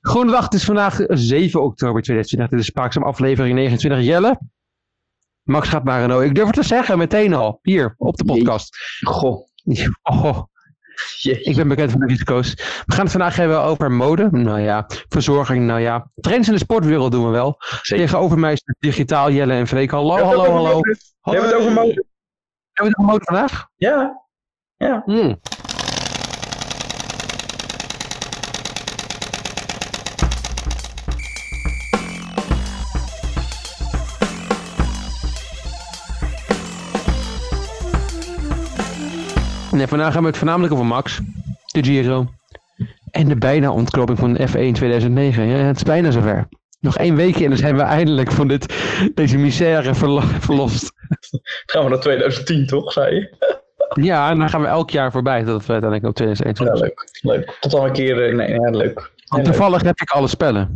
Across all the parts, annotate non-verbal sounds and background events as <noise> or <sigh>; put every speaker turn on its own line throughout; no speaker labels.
Groene Dag, het is vandaag 7 oktober 2020. Dit is Spaakzaam aflevering 29. Jelle, Max gaat naar Renault. Ik durf het te zeggen, meteen al. Hier, op de podcast.
Goh,
Oh,
jeetje.
ik ben bekend van de risico's. We gaan het vandaag hebben over mode. Nou ja, verzorging, nou ja. Trends in de sportwereld doen we wel.
Zeker.
Tegenover mij is de digitaal Jelle en Freek. Hallo,
Hebben we het
hallo,
over
hallo.
mode? Hebben we het over mode?
Hebben we het over mode vandaag?
Ja. Ja.
Hmm. Nee, vandaag gaan we het voornamelijk over Max, de Giro en de bijna ontknoping van de F1 2009. Ja, het is bijna zover. Nog één weekje en dan zijn we eindelijk van dit, deze misère verlo- verlost.
Gaan we naar 2010 toch, zei je?
Ja, en dan gaan we elk jaar voorbij dat we uiteindelijk op 2021
Ja, leuk. leuk. Tot al een keer... eh, Nee, ja, leuk. Ja,
Want
leuk.
toevallig heb ik alle spellen.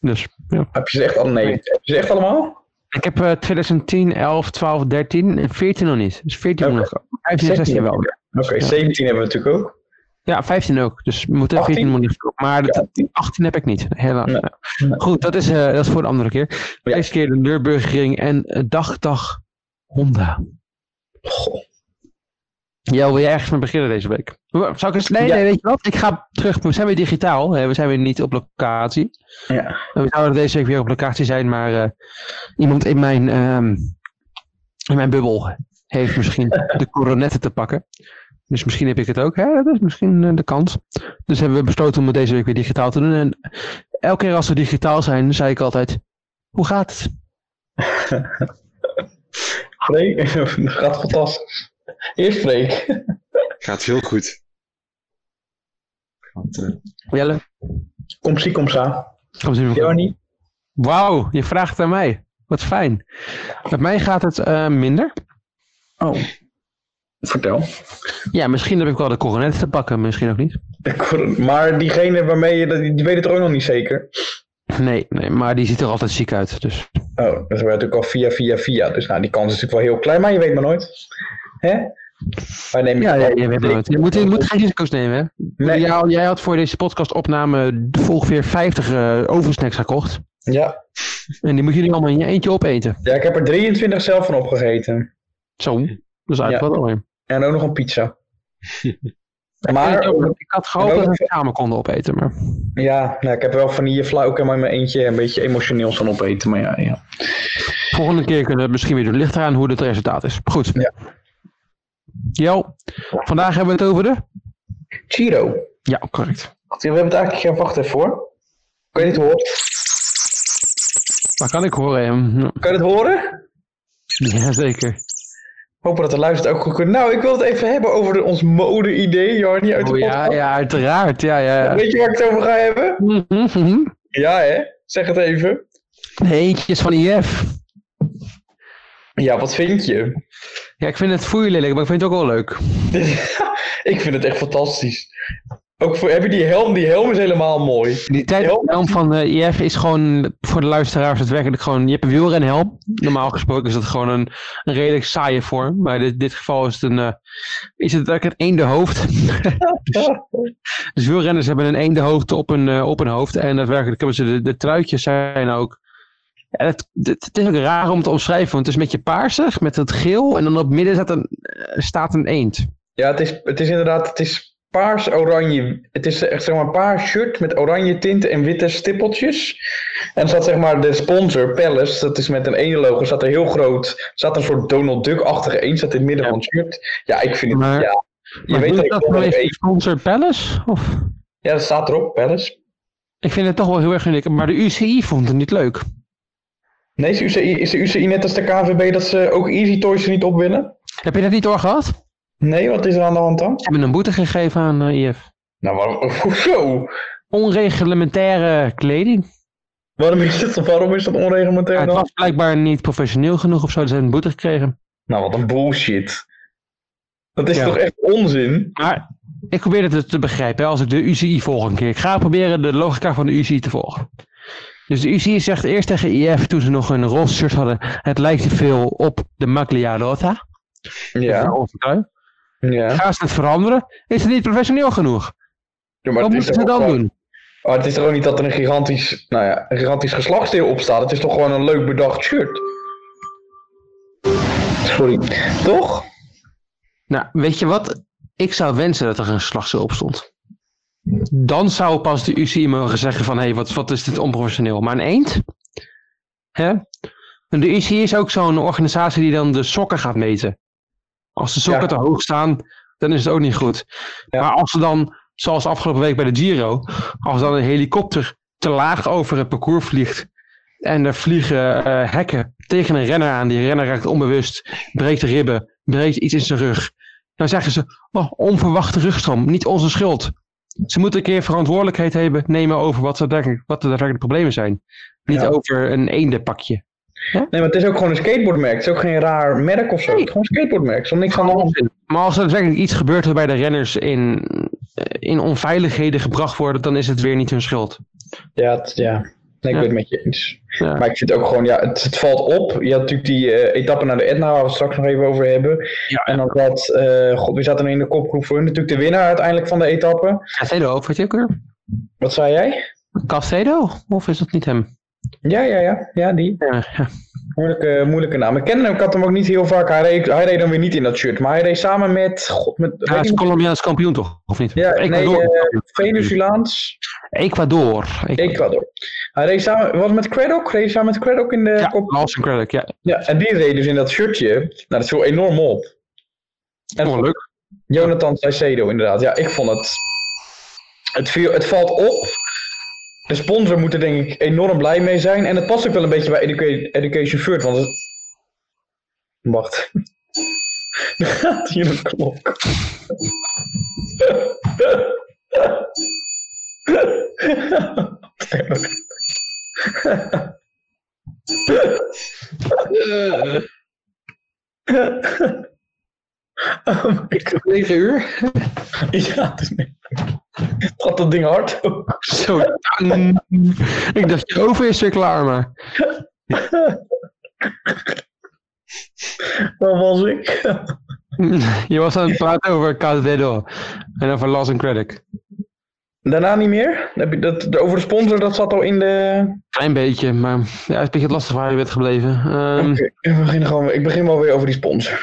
Dus ja.
Heb je ze echt al? Nee. Heb je ze echt allemaal?
Ik heb eh, 2010, 11, 12, 13 en 14 nog niet. Dus 14
Oké.
nog. 15 en 16 wel.
Oké, 17 hebben we natuurlijk ook.
Ja, 15 ook. Dus we moeten
18?
14 moet niet verkopen. Maar dat,
Ja,
18 heb ik niet, helaas.
Nee. Nee.
Goed, dat is, eh, dat is voor de andere keer.
Ja.
Deze keer de Nürburgring en eh, dag, dag Honda.
Goh.
Jel, wil jij ergens mee beginnen deze week? Zou ik eens... Nee,
Ja.
nee, weet je wat? Ik ga terug. We zijn weer digitaal. hè. We zijn weer niet op locatie.
Ja.
We zouden deze week weer op locatie zijn, maar eh, iemand in mijn, ehm, in mijn bubbel heeft misschien de coronetten te pakken. Dus misschien heb ik het ook. Hè? Dat is misschien eh, de kans. Dus hebben we besloten om het deze week weer digitaal te doen. En elke keer als we digitaal zijn, zei ik altijd, hoe gaat het?
Freek, dat <laughs> gaat fantastisch. Eerst Freek.
Gaat heel goed. Want, eh,
Jelle,
Kom zie, kom sa.
kom eens even.
Jou niet?
Wauw, je vraagt aan mij. Wat fijn. Met mij gaat het eh, minder.
Oh. Vertel.
Ja, misschien heb ik wel de coronetten te pakken, misschien ook niet.
Maar diegene waarmee je... dat- Die weet het ook nog niet zeker.
Nee, nee maar die ziet er altijd ziek uit. Dus
Oh, dat is natuurlijk al via, via, via. Dus nou, die kans is natuurlijk wel heel klein, maar je weet maar nooit. Hè? Wij nemen
Ja, ja, je, weet maar nooit. je, moet, je moet geen risico's nemen. Hè?
Nee,
Jij, jij had voor deze podcastopname ongeveer 50 eh, oversnacks gekocht.
ja.
En die moet je nu allemaal in je eentje opeten.
ja, ik heb er 23 zelf van opgegeten.
Zo, dat is eigenlijk
Ja.
wel mooi.
En ook nog een <laughs> pizza.
En
maar,
ik, ook- ik had gehoopt
en
dat
ook-
we het samen konden opeten. Maar...
ja, nou, ik heb wel vanillevla ook helemaal in mijn eentje een beetje emotioneel van opeten. Maar ja, ja.
Volgende keer kunnen we het misschien weer doen. Ligt eraan hoe het resultaat is. Goed.
Ja.
Jo, vandaag hebben we het over de...
Chiro.
Ja, correct.
We hebben het eigenlijk... Ja, wacht even hoor. Kan je dit horen?
Maar kan ik horen? Ja,
Kan je dit horen?
Jazeker.
Hopen dat de luistert ook goed kunnen. Nou, ik wil het even hebben over de- ons mode-idee, Jarnie, uit de
Oh, ja,
podcast.
ja, uiteraard. Ja, ja. ja.
Weet je waar ik het over ga hebben?
Mhm, mhm.
Ja, hè? Zeg het even.
De eentjes van IF.
Ja, wat vind je?
Ja, ik vind het foei lelijk, maar ik vind het ook wel leuk.
<laughs> ik vind het echt fantastisch. Ook voor, heb je die helm? Die helm is helemaal mooi.
Die
Helm?
tijdhelm van de IF is gewoon voor de luisteraars daadwerkelijk gewoon... Je hebt een wielrenhelm. Normaal gesproken is dat gewoon een, een redelijk saaie vorm. Maar in dit, dit geval is het een... eh, is het eigenlijk een eende hoofd. <laughs> dus wielrenners hebben een eende hoofd op een, eh, op een hoofd. En daadwerkelijk hebben ze... De, de truitjes zijn ook... Ja, het, het, het is ook raar om te omschrijven. Want het is een beetje paarsig met het geel. En dan op midden staat een, eh, staat een eend.
Ja, het is, het is inderdaad, het is paars-oranje. Het is echt zeg maar een paars shirt met oranje tinten en witte stippeltjes. En er staat zeg maar de sponsor, Palace, dat is met een ene logo, staat er heel groot. Er staat een soort Donald Duck-achtige een, staat in het midden
Ja.
van het shirt. Ja, ik vind het,
Maar-
ja. Je
Maar
weet
doet
dat ik
dat
wel
nou
een
even
eend-
sponsor Palace? Of...
Ja, dat staat erop, Palace.
Ik vind het toch wel heel erg uniek. Maar de UCI vond het niet leuk.
Nee, is de UCI, is de UCI net als de KVB dat ze ook Easy Toys er niet op willen?
Heb je dat niet door gehad? Ze
Nee, wat is er aan de hand dan?
hebben een boete gegeven aan eh, IF.
Nou, waarom, <laughs> hoezo?
Onreglementaire kleding.
Waarom is dat, waarom is dat
Ja,
onreglementair
het
dan?
was blijkbaar niet professioneel genoeg of zo. Ze hebben een boete gekregen.
Nou, wat een bullshit. Dat is
Ja.
toch echt onzin?
Maar ik probeer het dus te begrijpen hè, als ik de UCI volg een keer. Ik ga proberen de logica van de UCI te volgen. Dus de UCI zegt eerst tegen IF toen ze nog een roze shirt hadden. Het lijkt te veel op de Magliarotta.
Ja,
Ja.
ja.
Gaan ze het veranderen? Is het niet professioneel genoeg?
Ja, maar
Wat
het is
moeten ze
toch
dan
ook
doen?
Maar het is toch ook niet dat er een gigantisch, nou ja, een gigantisch geslachtsdeel op staat. Het is toch gewoon een leuk bedacht shirt. Sorry. Toch?
Nou, weet je wat? Ik zou wensen dat er een slagse op stond. Dan zou pas de UCI mogen zeggen van... hé, hey, wat, wat is dit onprofessioneel? Maar een eend? Hè? En De UCI is ook zo'n organisatie die dan de sokken gaat meten. Als de sokken
Ja.
te hoog staan, dan is het ook niet goed.
Ja.
Maar als ze dan, zoals afgelopen week bij de Giro... als dan een helikopter te laag over het parcours vliegt... en er vliegen eh, hekken tegen een renner aan... die renner raakt onbewust, breekt de ribben, breekt iets in zijn rug... Dan zeggen ze, oh, onverwachte rugstrom, niet onze schuld. Ze moeten een keer verantwoordelijkheid hebben, nemen over wat de daadwerkelijk, wat de daadwerkelijk problemen zijn. Niet
Ja.
over een eendenpakje.
Nee, maar het is ook gewoon een skateboardmerk. Het is ook geen raar merk of zo. Het is gewoon een skateboardmerk. Er is niks aan de hand.
Maar als er daadwerkelijk iets gebeurt waarbij de renners in, eh, in onveiligheden gebracht worden, dan is het weer niet hun schuld.
Ja, het- ja. Nee, ik
Ja.
ben het met je eens.
Ja.
Maar ik vind ook gewoon, ja, het, het valt op. Je had natuurlijk die eh, etappe naar de Etna, waar we het straks nog even over hebben.
Ja.
En dan zat, eh god, wie zat er in de kopgroep voor hun? Natuurlijk de winnaar uiteindelijk van de etappe.
Castedo, of weet je ook weer?
Wat zei jij?
Castedo? Of is dat niet hem?
Ja, ja, ja. Ja, die.
Ja, ja.
Moeilijke, moeilijke naam. Ik ken hem, ik had hem ook niet heel vaak. Hij reed, hij reed dan weer niet in dat shirt. Maar hij reed samen met, god, met
Hij is Colombiaans kampioen toch? Of niet?
Ja, nee,
Ecuador.
Venezolaans.
Ecuador. Ecuador.
Ecuador. Hij reed samen, was het met Craddock? Reed hij samen met Craddock in de
Ja,
kop?
Lawson Craddock, ja.
Ja, en die reed dus in dat shirtje. Nou, dat viel enorm op.
Oh,
En
leuk.
Jonathan Saicedo inderdaad. Ja, ik vond het... Het, viel, het valt op. De sponsor moet er denk ik enorm blij mee zijn. En het past ook wel een beetje bij Educa- Education First, want het... Wacht. <laughs> Er gaat hier een klok. <laughs> Oh my god.
9 uur?
Ja, het is niet. Het gaat dat ding hard ook.
Zo, dan. <laughs> ik dacht, je oven is weer klaar, maar... <laughs>
Waar was ik?
Je was aan het praten over Castedo en over Lawson Craddock.
Daarna niet meer? Heb je dat, de- over de sponsor, dat zat al in de...
Klein beetje, maar ja, het is een beetje lastig waar je bent gebleven. Ehm,
Oké, we beginnen gewoon, weer- ik begin wel weer over die sponsor.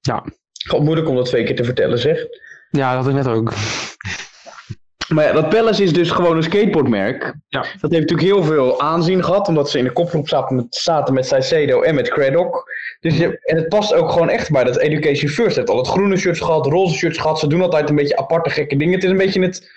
Ja.
God, moeilijk om dat twee keer te vertellen, zeg.
Ja, dat had ik net ook.
Maar ja, dat Palace is dus gewoon een skateboardmerk.
Ja.
Dat heeft natuurlijk heel veel aanzien gehad, omdat ze in de kopgroep zaten met, zaten met Saicedo en met Craddock. Dus je, en het past ook gewoon echt bij dat Education First. Het heeft al het groene shirts gehad, roze shirts gehad. Ze doen altijd een beetje aparte gekke dingen. Het is een beetje het...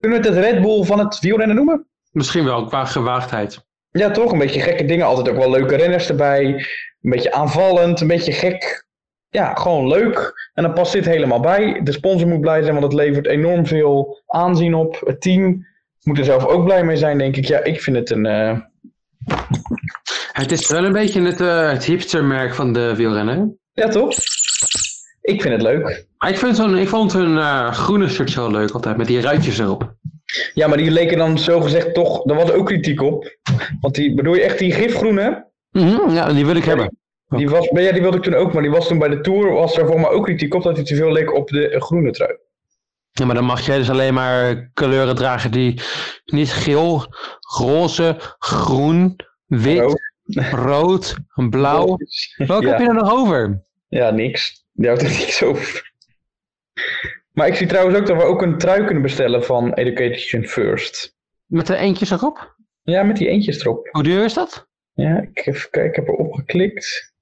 Kunnen we het het Red Bull van het wielrennen noemen?
Misschien wel, qua gewaagdheid.
Ja, toch? Een beetje gekke dingen. Altijd ook wel leuke renners erbij. Een beetje aanvallend, een beetje gek. Ja, gewoon leuk. En dan past dit helemaal bij. De sponsor moet blij zijn, want het levert enorm veel aanzien op. Het team moet er zelf ook blij mee zijn, denk ik. Ja, ik vind het een... eh,
Het is wel een beetje het, eh, het hipstermerk van de wielrennen.
Ja, toch? Ik vind het leuk.
Maar ik, vind zo'n, ik vond hun eh, groene shirt zo leuk altijd, met die ruitjes erop.
Ja, maar die leken dan zogezegd toch... Daar was ook kritiek op. Want die, bedoel je echt die gifgroene?
Mhm, Ja, en die wil ik hebben.
Die was, ja, die wilde ik toen ook, maar die was toen bij de Tour... was er voor mij ook kritiek op dat hij te veel leek op de eh, groene trui.
Ja, maar dan mag jij dus alleen maar kleuren dragen die niet geel, roze, groen, wit, rood, blauw. Welke
Ja.
heb je er nog over?
Ja, niks. Daar houdt het <laughs> niks over. Maar ik zie trouwens ook dat we ook een trui kunnen bestellen van Education First.
Met de eentjes erop?
Ja, met die eentjes erop.
Hoe duur is dat?
Ja, ik, even kijken, ik heb erop geklikt.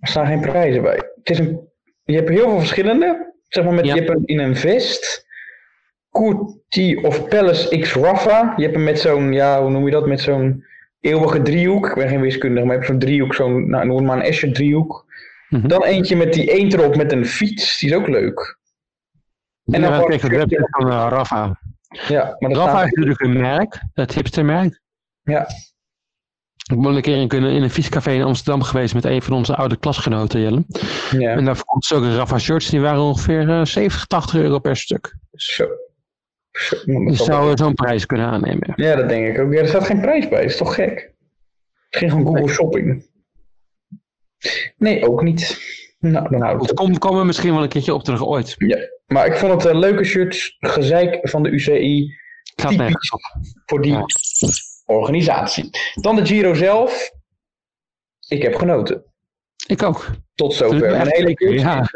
Er staan geen prijzen bij. Het is een, je hebt heel veel verschillende. Zeg maar met,
Ja.
Je hebt een in een vest. Kurti of Palace X Rafa. Je hebt hem met zo'n, ja, hoe noem je dat? Met zo'n eeuwige driehoek. Ik ben geen wiskundige, maar je hebt zo'n driehoek. Zo'n, nou, noem het maar een Escher driehoek.
Mhm.
Dan eentje met die eend erop met een fiets. Die is ook leuk.
En
dan
dan
gewoon-
krijg je de website van eh, Rafa.
Ja, maar dat
Rafa
staan-
is natuurlijk een merk, het hipstermerk.
Ja.
Ik ben een keer in, kunnen- in een fietscafé in Amsterdam geweest met een van onze oude klasgenoten, Jelle.
ja.
En daar verkocht ze ook een Rafa shirts, die waren ongeveer eh, 70, 80 euro per stuk.
Zo. Zo.
Dus zou zo'n prijs kunnen aannemen.
Ja, dat denk ik ook. Ja, er staat geen prijs bij. Dat is toch gek? Het ging gewoon Google Shopping. Nee, ook niet. Nou, dan houden we
Het
het op.
komt, komen we misschien wel een keertje op terug ooit.
Ja. Maar ik vond het een leuke shirt, gezeik van de UCI,
Het gaat nergens op.
voor die
Ja.
organisatie. Dan de Giro zelf. Ik heb genoten.
Ik ook.
Tot
Het
zover.
is echt
Een hele
leuk,
poeltjes,
ja.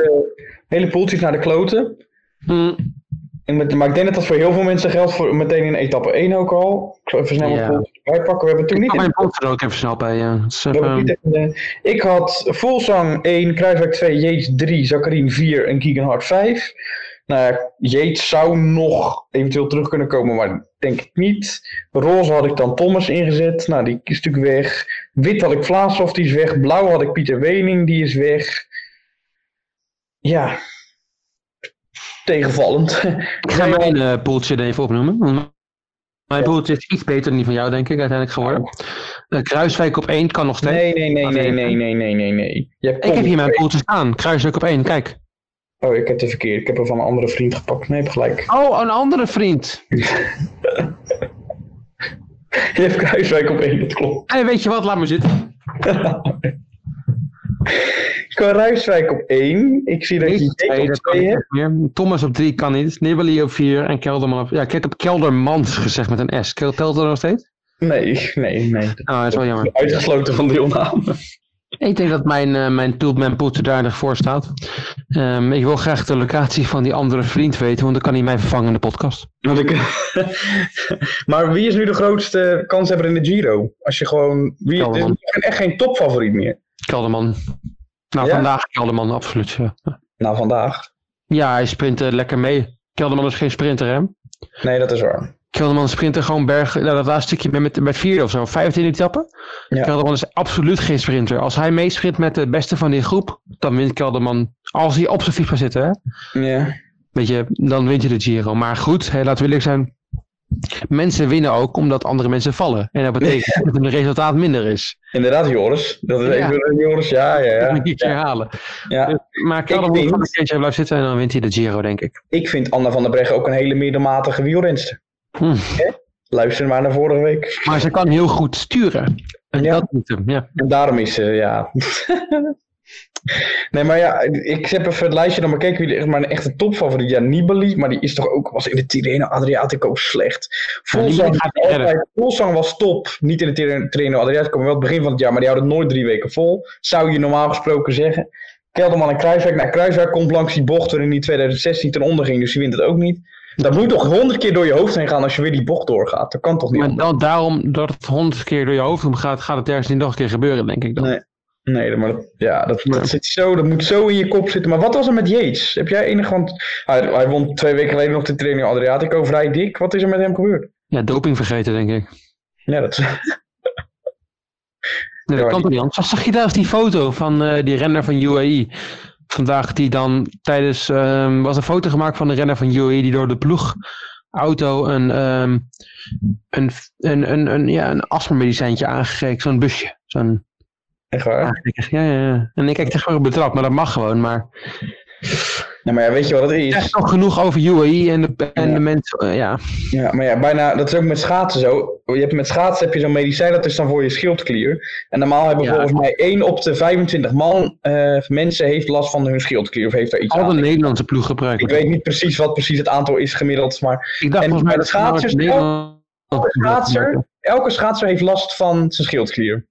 hele poeltjes naar de kloten.
Mm,
Ik met- Maar ik denk dat dat voor heel veel mensen geldt, voor, meteen in etappe 1 ook al. Ik zal even snel
Ja.
mijn poeltjes erbij pakken. We hebben toen
ik
niet
kan
in
mijn post er ook even snel bij. ja. Dus, ehm, Het is
We hebben
even-
niet echt een- Ik had Volsang 1, Kruiswijk 2, Yates 3, Zakharien 4 en Keegan Hart 5. Nou, ja, Yates zou nog eventueel terug kunnen komen, maar denk ik niet. Roze had ik dan Thomas ingezet. Nou, die is natuurlijk weg. Wit had ik Vlaashoff, die is weg. Blauw had ik Pieter Wening, die is weg. Ja, tegenvallend.
Ik ga mijn eh poeltje er even opnoemen. want Mijn poeltje is iets beter dan die van jou, denk ik, uiteindelijk geworden. Eh, Kruiswijk op 1 kan nog steeds.
Nee, nee, nee, nee, nee, nee, nee, nee, nee. Je hebt
Oh, ik heb
Tom.
hier mijn poeltje staan. Kruiswijk op 1, kijk.
Oh, ik heb de verkeerd. Ik heb er van een andere vriend gepakt. Nee, ik heb gelijk.
Oh, een andere vriend.
<laughs> Je hebt Kruiswijk op één, dat klopt.
Hé, weet je wat, laat maar zitten.
Kruiswijk op één. Ik zie dat je
Nee,
Jeet op
dat kan
twee
niet
hebt.
meer. Thomas op 3 kan niet. Nibali op 4 en Kelderman op... Ja, ik heb Keldermans gezegd met een S. Telt dat nog steeds?
Nee, nee, nee.
Oh, dat is wel jammer.
<laughs> Uitgesloten van deelname.
Ik denk dat mijn, eh mijn, poel- mijn poeltje daar nog voor staat. Ehm, ik wil graag de locatie van die andere vriend weten, want dan kan hij mij vervangen in de podcast.
<laughs> Want ik... <laughs> maar wie is nu de grootste kanshebber in de Giro? Als je gewoon... Wie... Ik
Kelderman.
ben echt geen topfavoriet meer.
Kelderman. Nou,
Ja?
vandaag Kelderman, absoluut. Ja.
Nou, vandaag.
ja, hij sprint eh, lekker mee. Kelderman is geen sprinter, hè?
Nee, dat is waar.
Kelderman sprintte gewoon berg. Nou, dat laatste stukje met, met vierde of zo, 15 etappen.
Ja.
Kelderman is absoluut geen sprinter. Als hij meesprint met de beste van die groep, dan wint Kelderman. Als hij op zijn fiets gaat zitten, hè?
Ja.
Weet je, dan wint je de Giro. Maar goed, hè, laten we eerlijk zijn. Mensen winnen ook omdat andere mensen vallen. En dat betekent dat het resultaat minder is.
Inderdaad, Joris. Dat is
Ja.
even Joris. Ja, ja,
Dat moet
ja.
ik niet herhalen. Dus,
ja.
Maar Kelderman
vind-
kan een keertje blijven zitten en dan wint hij de Giro, denk ik.
Ik vind Anna van der Breggen ook een hele middelmatige wielrenster.
Hm.
Hè? Luister maar naar vorige week.
Maar ze kan heel goed sturen. En
Ja.
dat moet hem, ja.
En daarom is ze, ja. <laughs> nee, maar ja, ik heb even het lijstje dan bekeken. Wie er is, maar een echte topfavoriet, ja, Nibali. Maar die is toch ook, was in de Tirreno Adriatico slecht.
Nibali
Volsang,
gaat niet verder.
altijd- Volsang was top. Niet in de Tirreno- Tirreno Adriatico, maar wel het begin van het jaar. Maar die houden het nooit drie weken vol. Zou je normaal gesproken zeggen. Kelderman en Kruiswijk. Nou, Kruiswijk komt langs die bocht waarin die 2016 ten onder ging. Dus die wint het ook niet. Dat moet toch honderd keer door je hoofd heen gaan als je weer die bocht doorgaat. Dat kan toch niet
Maar
anders?
dan, daarom dat het honderd keer door je hoofd om gaat, gaat het ergens niet nog een keer gebeuren, denk ik dan.
Nee. Nee, maar dat, ja, dat, dat
Ja.
zit zo, dat moet zo in je kop zitten. Maar wat was er met Yates? Heb jij enig, want hij, hij won twee weken geleden nog de training Adriatico vrij dik. Wat is er met hem gebeurd?
Ja, doping vergeten, denk ik.
Ja, dat,
Nee,
Ja,
dat kan toch niet anders. Zag je daar eens die foto van eh, die renner van UAE? Vandaag die dan tijdens... ehm, was een foto gemaakt van de renner van UAE die door de ploegauto een, ehm, een, een, een, een, ja, een astmamedicijntje aangekeken. Zo'n busje. Zo'n
echt waar.
aangekeken. Ja, ja, ja. En ik kijk echt gewoon betrapt, maar dat mag gewoon. Maar
Ja, Nou, maar ja, weet je wat het
er is
is?
nog genoeg over UAE en de, en
Ja.
de mensen. eh, ja.
Ja, maar ja, bijna, dat is ook met schaatsen zo. Je hebt met schaatsen heb je zo'n medicijn, dat is dan voor je schildklier. En normaal hebben
Ja.
volgens mij één op de 25 man eh, mensen heeft last van hun schildklier of heeft daar iets
Al de
aan.
Nederlandse ploeg gebruiken.
Ik weet niet precies wat precies het aantal is gemiddeld, maar
Ik dacht
En
volgens mij
bij
dat
de
ze nou nooit
schaatsers ook.
Nederland-
schaatser, elke schaatser heeft last van zijn schildklier.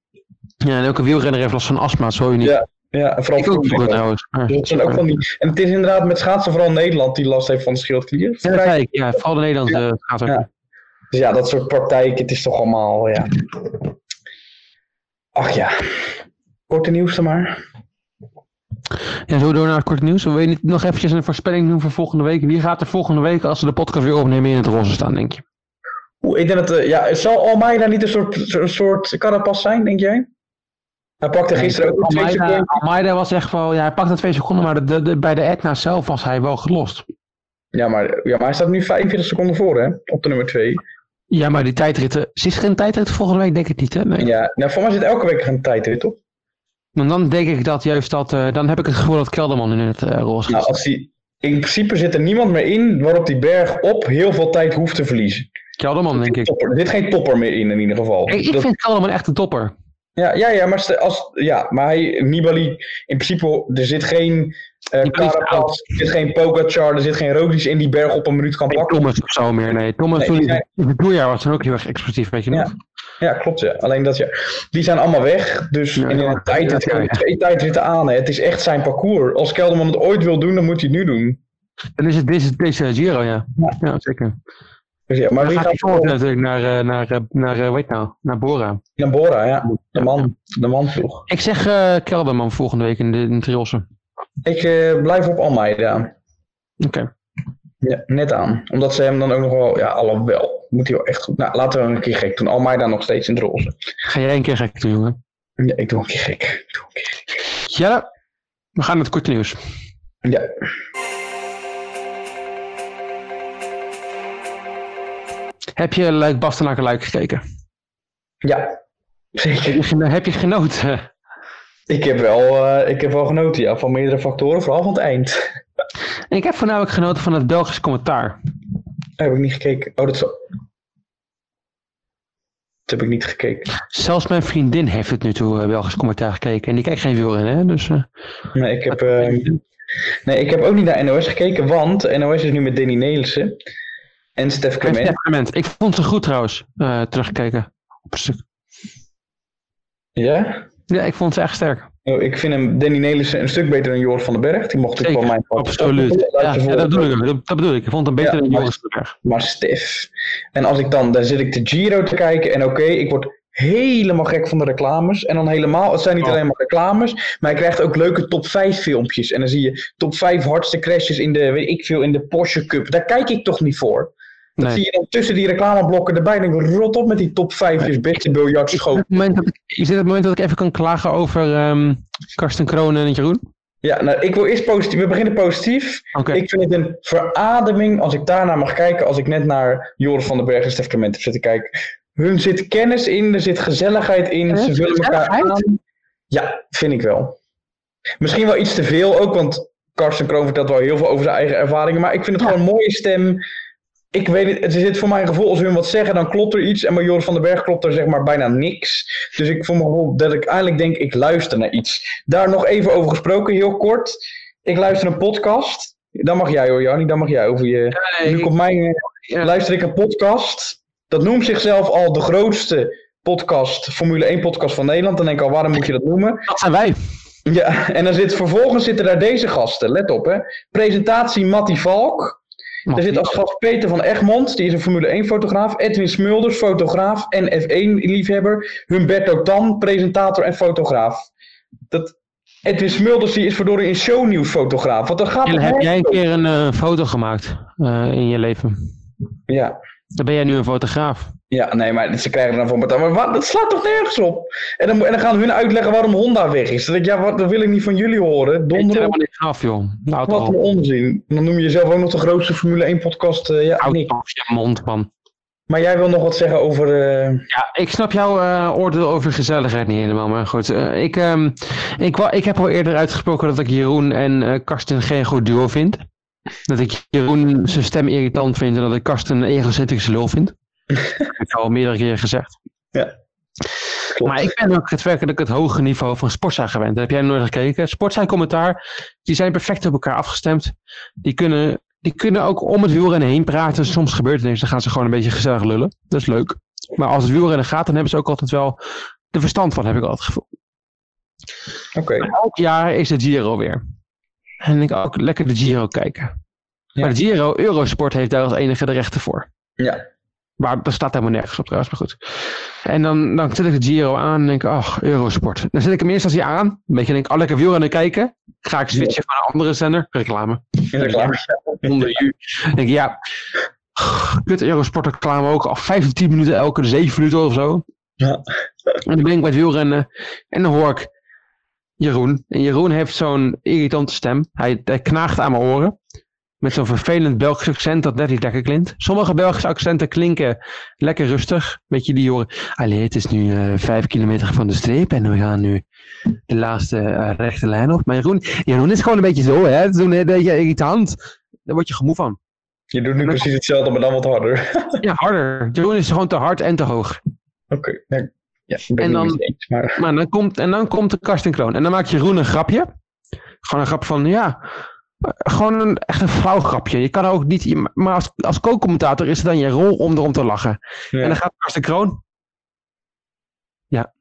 Ja, en elke wielrenner heeft last van astma, zo uniek.
Ja, Ja, en vooral
ik ook vroeger
vroeger.
trouwens. Maar-
Dus dat zijn ook van die... En het is inderdaad met schaatsen vooral Nederland die last heeft van de schildklier.
Ja, dat zei ik. Ja, vooral de Nederlandse schaatsers.
Ja. Dus ja, dat soort praktijken, het is toch allemaal, ja. Ach ja. Korte nieuws dan maar.
Ja, zo door naar het korte nieuws. Wil je niet nog eventjes een voorspelling doen voor volgende week? Wie gaat er volgende week, als we de podcast weer opnemen, in het roze staan, denk je?
Oeh, ik denk dat, eh, ja, zal Almeida niet een soort, zo- een soort carapas zijn, denk jij? Hij pakte gisteren ook nog twee
Almeida,
seconden.
Almeida was echt wel... Ja, hij pakte twee seconden, maar de, de, de- bij de Etna zelf was hij wel gelost.
Ja maar, ja, maar hij staat nu 45 seconden voor, hè? Op de nummer 2.
Ja, maar die tijdritten... Zit er geen tijdrit volgende week? Denk ik niet, hè? Nee.
Ja, nou, voor mij zit elke week een tijdrit, toch?
Maar dan denk ik dat juist dat... eh, dan heb ik het gevoel dat Kelderman in het eh, roze gaat.
Nou, als die, in principe zit er niemand meer in waarop die berg op heel veel tijd hoeft te verliezen.
Kelderman, denk ik.
Topper. Er zit geen topper meer in, in ieder geval.
Ik, ik
Dat-
vind Kelderman echt een topper.
ja, ja, ja, maar, als, ja, maar hij, Nibali, in principe, er zit geen Eh
Die blijft
Carapaz,
oud.
er zit geen Pogacar, er zit geen Roglic in die berg op een minuut kan
Geen
pakken.
Thomas of zo meer. Nee, Thomas
Nee,
toen
die
in het doorjaar was toen ook heel erg explosief, weet je nog?
Ja, klopt. Ja. Alleen dat je, die zijn allemaal weg. Dus
Ja,
en in
ja,
een tijd, het
ja, ja.
twee tijdritten aan. Hè. Het is echt zijn parcours. Als Kelderman het ooit wil doen, dan moet hij het nu doen.
Dan is het deze, deze Giro, ja.
Ja.
Ja, zeker.
Dus ja, maar
Dan
wie
gaat hij
gaat
volgend jaar
voor
natuurlijk naar, eh, naar, eh, naar, eh, weet nou, naar Bora.
naar Bora? Ja, de man, de man vroeg.
Ik zeg eh Kelderman volgende week in de in Triossen.
Ik eh, blijf op Almeida.
Oké.
Ja, net aan. Omdat ze hem dan ook nog wel, ja, alhoewel. Moet hij wel echt goed. Nou, laten we hem een keer gek doen. Almeida nog steeds in het roze.
Ga jij één keer gek doen, jongen.
Ja, ik doe een keer gek. Ik doe een keer gek.
Ja, we gaan naar het korte nieuws.
Ja,
Heb je Luik Bastenaken Luik gekeken?
ja.
Heb
Zeker.
je, geno- heb je genoten?
Ik heb, wel, eh, ik heb wel genoten ja, van meerdere factoren, vooral van het eind.
En ik heb voornamelijk genoten van het Belgisch commentaar.
Heb ik niet gekeken. Oh, dat is. wel- Dat heb ik niet gekeken.
Zelfs mijn vriendin heeft het nu toe eh, Belgisch commentaar gekeken. En die kijkt geen wielrennen, hè? Dus, eh,
Nee ik, heb, eh, nee, ik heb ook niet naar NOS gekeken, want NOS is nu met Danny Nelissen en Stef
en
Clement.
temperament. Ik vond ze goed trouwens, eh, teruggekeken. Op een stuk.
Ja?
Ja, ik vond ze echt sterk.
Oh, ik vind hem, Danny Nelissen, een stuk beter dan Joris van den Berg. Die mocht ik
Zeker,
van mijn part
Absoluut.
ook wel
Ja,
laten
ja,
volgen.
dat, bedoel ik, dat, dat bedoel ik. Ik vond hem beter
Ja,
dan
maar-
Joris Berg.
Maar Stef. En als ik dan, dan zit ik de Giro te kijken en oké, ik word helemaal gek van de reclames. En dan helemaal, het zijn niet
Oh.
alleen maar reclames, maar je krijgt ook leuke top 5 filmpjes. En dan zie je top 5 hardste crashes in de, weet ik veel, in de Porsche Cup. Daar kijk ik toch niet voor. Dat
Nee.
zie je dan tussen die reclameblokken erbij. En ik rot op met die top 5 is beste biljart
Is dit,
schoon.
het moment dat ik, is dit het moment dat ik even kan klagen over ehm Karsten Kroon en Jeroen?
Ja, nou, ik wil eerst positief. We beginnen positief.
Oké.
Ik vind het een verademing als ik daarnaar mag kijken. Als ik net naar Joris van den Berg en Stef Clement heb zitten kijken. Hun zit kennis in, er zit gezelligheid in.
Eh,
Ze vullen elkaar Ah,
gezelligheid?
aan. Ja, vind ik wel. Misschien wel iets te veel ook, want Karsten Kroon vertelt wel heel veel over zijn eigen ervaringen. Maar ik vind het gewoon een mooie stem. Ik weet het, het zit voor mijn gevoel, als hun wat zeggen, dan klopt er iets. En bij Joris van den Berg klopt er zeg maar bijna niks. Dus ik voor mijn gevoel dat ik eigenlijk denk, ik luister naar iets. Daar nog even over gesproken, heel kort. Ik luister een podcast. Dan mag jij hoor, Jannie, dan mag jij over je...
Nee,
Nu
ik-
komt mijn. eh,
Ja.
Luister ik een podcast. Dat noemt zichzelf al de grootste podcast, Formule 1 podcast van Nederland. Dan denk ik al, waarom moet je dat noemen?
dat zijn wij.
Ja, en dan zit, vervolgens zitten daar deze gasten. Let op, hè. Presentatie Matty Valk. Er zit als gast Peter van Egmond, die is een Formule 1 fotograaf. Edwin Smulders, fotograaf en F1 liefhebber. Humberto Tan, presentator en fotograaf. Dat Edwin Smulders die is verdorie een shownieuws fotograaf. Want dan gaat
En
het
heb
nergens
jij een
over.
keer een eh, foto gemaakt eh, in je leven?
Ja.
Dan ben jij nu een fotograaf.
Ja, nee, maar ze krijgen er dan voor betaald. Maar wat, dat slaat toch nergens op? En dan, en dan gaan hun uitleggen waarom Honda weg is. Dan denk ik, ja, wat, dat wil ik niet van jullie horen.
Ik ben
Donder
helemaal
op,
niks af, joh. De auto
wat een
al.
onzin. Dan noem je jezelf ook nog de grootste Formule 1-podcast. ja,
Auto
niks.
op je mond, man.
Maar jij wil nog wat zeggen over... eh,
Ja, ik snap jouw eh, oordeel over gezelligheid niet helemaal, maar goed. eh, ik, ehm, ik, wa- ik heb al eerder uitgesproken dat ik Jeroen en eh, Karsten geen goed duo vind. Dat ik Jeroen zijn stem irritant vind en dat ik Karsten een egocentrische lul vind. dat heb ik al meerdere keren gezegd.
klopt.
Maar ik ben ook het werkelijk het hoge niveau van Sportza gewend. Dat heb jij nooit gekeken. Sportza commentaar, die zijn perfect op elkaar afgestemd. Die kunnen, die kunnen ook om het wielrennen heen praten. Soms gebeurt er niks, dan gaan ze gewoon een beetje gezellig lullen. Dat is leuk. Maar als het wielrennen gaat, dan hebben ze ook altijd wel de verstand van, heb ik altijd het gevoel.
Oké.
Elk jaar is de Giro weer. En ik ook lekker de Giro kijken.
Ja.
Maar de Giro, Eurosport heeft daar als enige de rechten voor.
Ja.
Maar dat staat helemaal nergens op trouwens, maar goed. En dan, dan zet ik de Giro aan en denk ik, ach, Eurosport. Dan zet ik hem eerst als hij aan. Een beetje denk ik, oh, lekker wielrennen kijken. Ga ik switchen van een andere zender. Reclame.
Ja, klaar.
Onder u. Dan denk ik, ja, kut Eurosport reclame ook. Al 5 tot 10 minuten elke 7 minuten of zo.
Ja.
En dan ben ik bij het wielrennen. En dan hoor ik Jeroen. En Jeroen heeft zo'n irritante stem. Hij, hij knaagt aan mijn oren. Met zo'n vervelend Belgisch accent dat net niet lekker klinkt. Sommige Belgische accenten klinken lekker rustig. Weet je, die horen. Allee, het is nu eh, vijf kilometer van de streep. En we gaan nu de laatste eh, rechte lijn op. Maar Jeroen, Jeroen is gewoon een beetje zo, hè? Het is een eh, beetje irritant. Daar word je gemoe van.
Je doet nu precies hetzelfde, maar dan wat harder. Oké.
Ja, harder. Jeroen is gewoon te hard en te hoog.
Ja, ja, ben
En
ik
dan-
niet eens, maar...
Maar dan komt, en dan komt de Karsten Kroon. En dan maakt Jeroen een grapje. Gewoon een grap van, ja, eh, gewoon een, echt een flauw grapje. Je kan ook niet, je- maar als, als co-commentator is het dan je rol om erom te lachen.
Ja.
En dan gaat Karsten Kroon. Ja.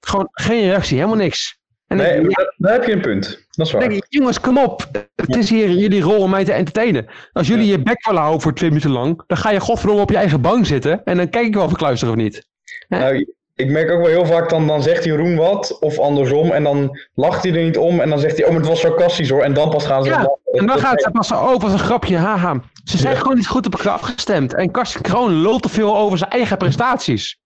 Gewoon geen reactie, helemaal niks. En dan
nee,
denk ik,
daar, daar heb je een punt. Dat is
ja,
waar.
dan denk ik, jongens, kom op. Het is hier jullie rol om mij te entertainen. Als jullie je bek willen houden voor twee minuten lang, dan ga je godverdomme op je eigen bank zitten. En dan kijk ik wel of ik luister of niet.
Nou, ik merk ook wel heel vaak, dan, dan zegt Jeroen wat, of andersom, en dan lacht hij er niet om, en dan zegt hij, oh, maar het was sarcastisch hoor, en dan pas gaan ze...
Ja,
lachen.
En dan
Dat-
gaat het pas zo, oh, was een grapje, haha. Ze zijn
Ja.
gewoon niet goed op elkaar afgestemd. En Karsten Kroon lult te veel over zijn eigen prestaties.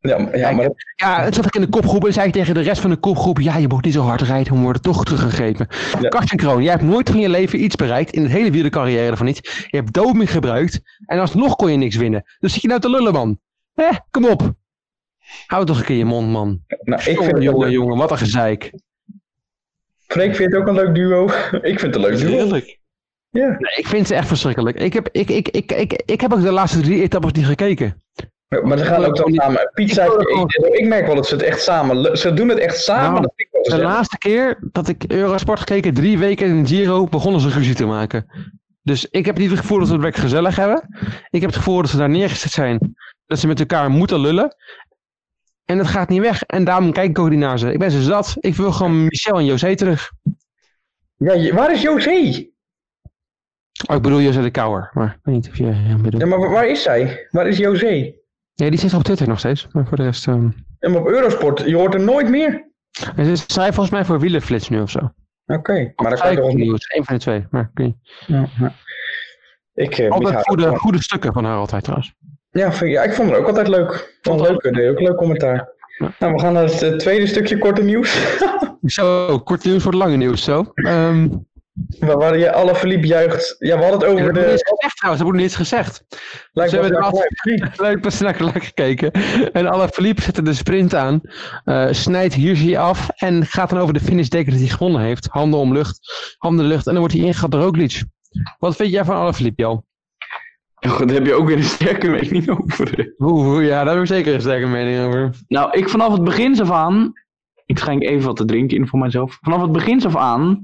Ja, maar- ja, maar dat-
Ja, het zat ik in de kopgroep en zei ik tegen de rest van de kopgroep... ja, je moet niet zo hard rijden, we worden toch teruggegrepen.
Ja.
Karsten Kroon, jij hebt nooit van je leven iets bereikt... in het hele wielercarrière ervan niet. Je hebt doping gebruikt en alsnog kon je niks winnen. Dus zit je nou te lullen, man. Hé, kom op. Hou toch een keer je mond, man.
nou, ik vind
jongen,
het
jongen, jongen, wat een gezeik.
Freek vindt het ook een leuk duo. <laughs> ik vind het een leuk duo.
Heerlijk.
Ja.
Nee, ik vind ze echt verschrikkelijk. Ik heb, ik, ik, ik, ik, ik heb ook de laatste drie etappes niet gekeken.
Maar ze gaan ook dan samen. Pizza,
Ik wil
ik,
dat ook.
ik, merk wel dat ze het echt samen. le- Ze doen het echt samen.
Nou,
dat vind ik wel
De
gezellig.
laatste keer dat ik Eurosport gekeken, drie weken in Giro, begonnen ze ruzie te maken. Dus ik heb niet het gevoel dat ze het werk gezellig hebben. Ik heb het gevoel dat ze daar neergezet zijn. Dat ze met elkaar moeten lullen. En dat gaat niet weg. En daarom kijk ik ook niet naar ze. Ik ben ze zat. Ik wil gewoon Michel en José terug.
Ja, je- waar is José?
Oh, ik bedoel José de Kouwer. Maar ik weet niet of je hem bedoelt.
Ja, maar wa- waar is zij? Waar is José?
Ja, die zit op Twitter nog steeds. Maar voor de rest... ehm
En op Eurosport, je hoort er nooit meer.
Ze is- zij volgens mij voor wielerflits nu of zo.
Oké, maar dat kan je
Zij
toch
of
niet.
nieuws. Eén van de twee. Maar ik weet niet.
Ja, ja. Ik, eh, mis haar.
Altijd goede, goede stukken van haar altijd trouwens.
ja, vind, ik- ja, ik vond het ook altijd leuk. Vond het leuk, eh, deed ook leuk commentaar.
Ja.
Nou, we gaan naar het eh, tweede stukje korte nieuws. <laughs>
Zo, kort nieuws wordt lange nieuws, zo. Ehm
waar, waar je alle verliep juicht. Ja, we hadden het
dat
over
heb ik niet eens
de.
gezegd trouwens, dat heb ik niet eens gezegd. <laughs>
Lijkt
ze
wel
hebben
Jack
het
Live.
<laughs>
Leuk pas naar Clark gekeken. En alle Philippe zette de sprint aan. eh, snijdt hier zie je af. En gaat dan over de finish denken dat hij gewonnen heeft. Handen om lucht, handen in de lucht. En dan wordt hij ingehaald door Roglic. Wat vind jij van alle Philippe, Jo?
Goh, Daar heb je ook weer een sterke mening over.
Oeh, ja, daar heb ik zeker een sterke mening over.
Nou, ik vanaf het begin af aan. Ik schenk even wat te drinken in voor mezelf. Vanaf het begin af aan.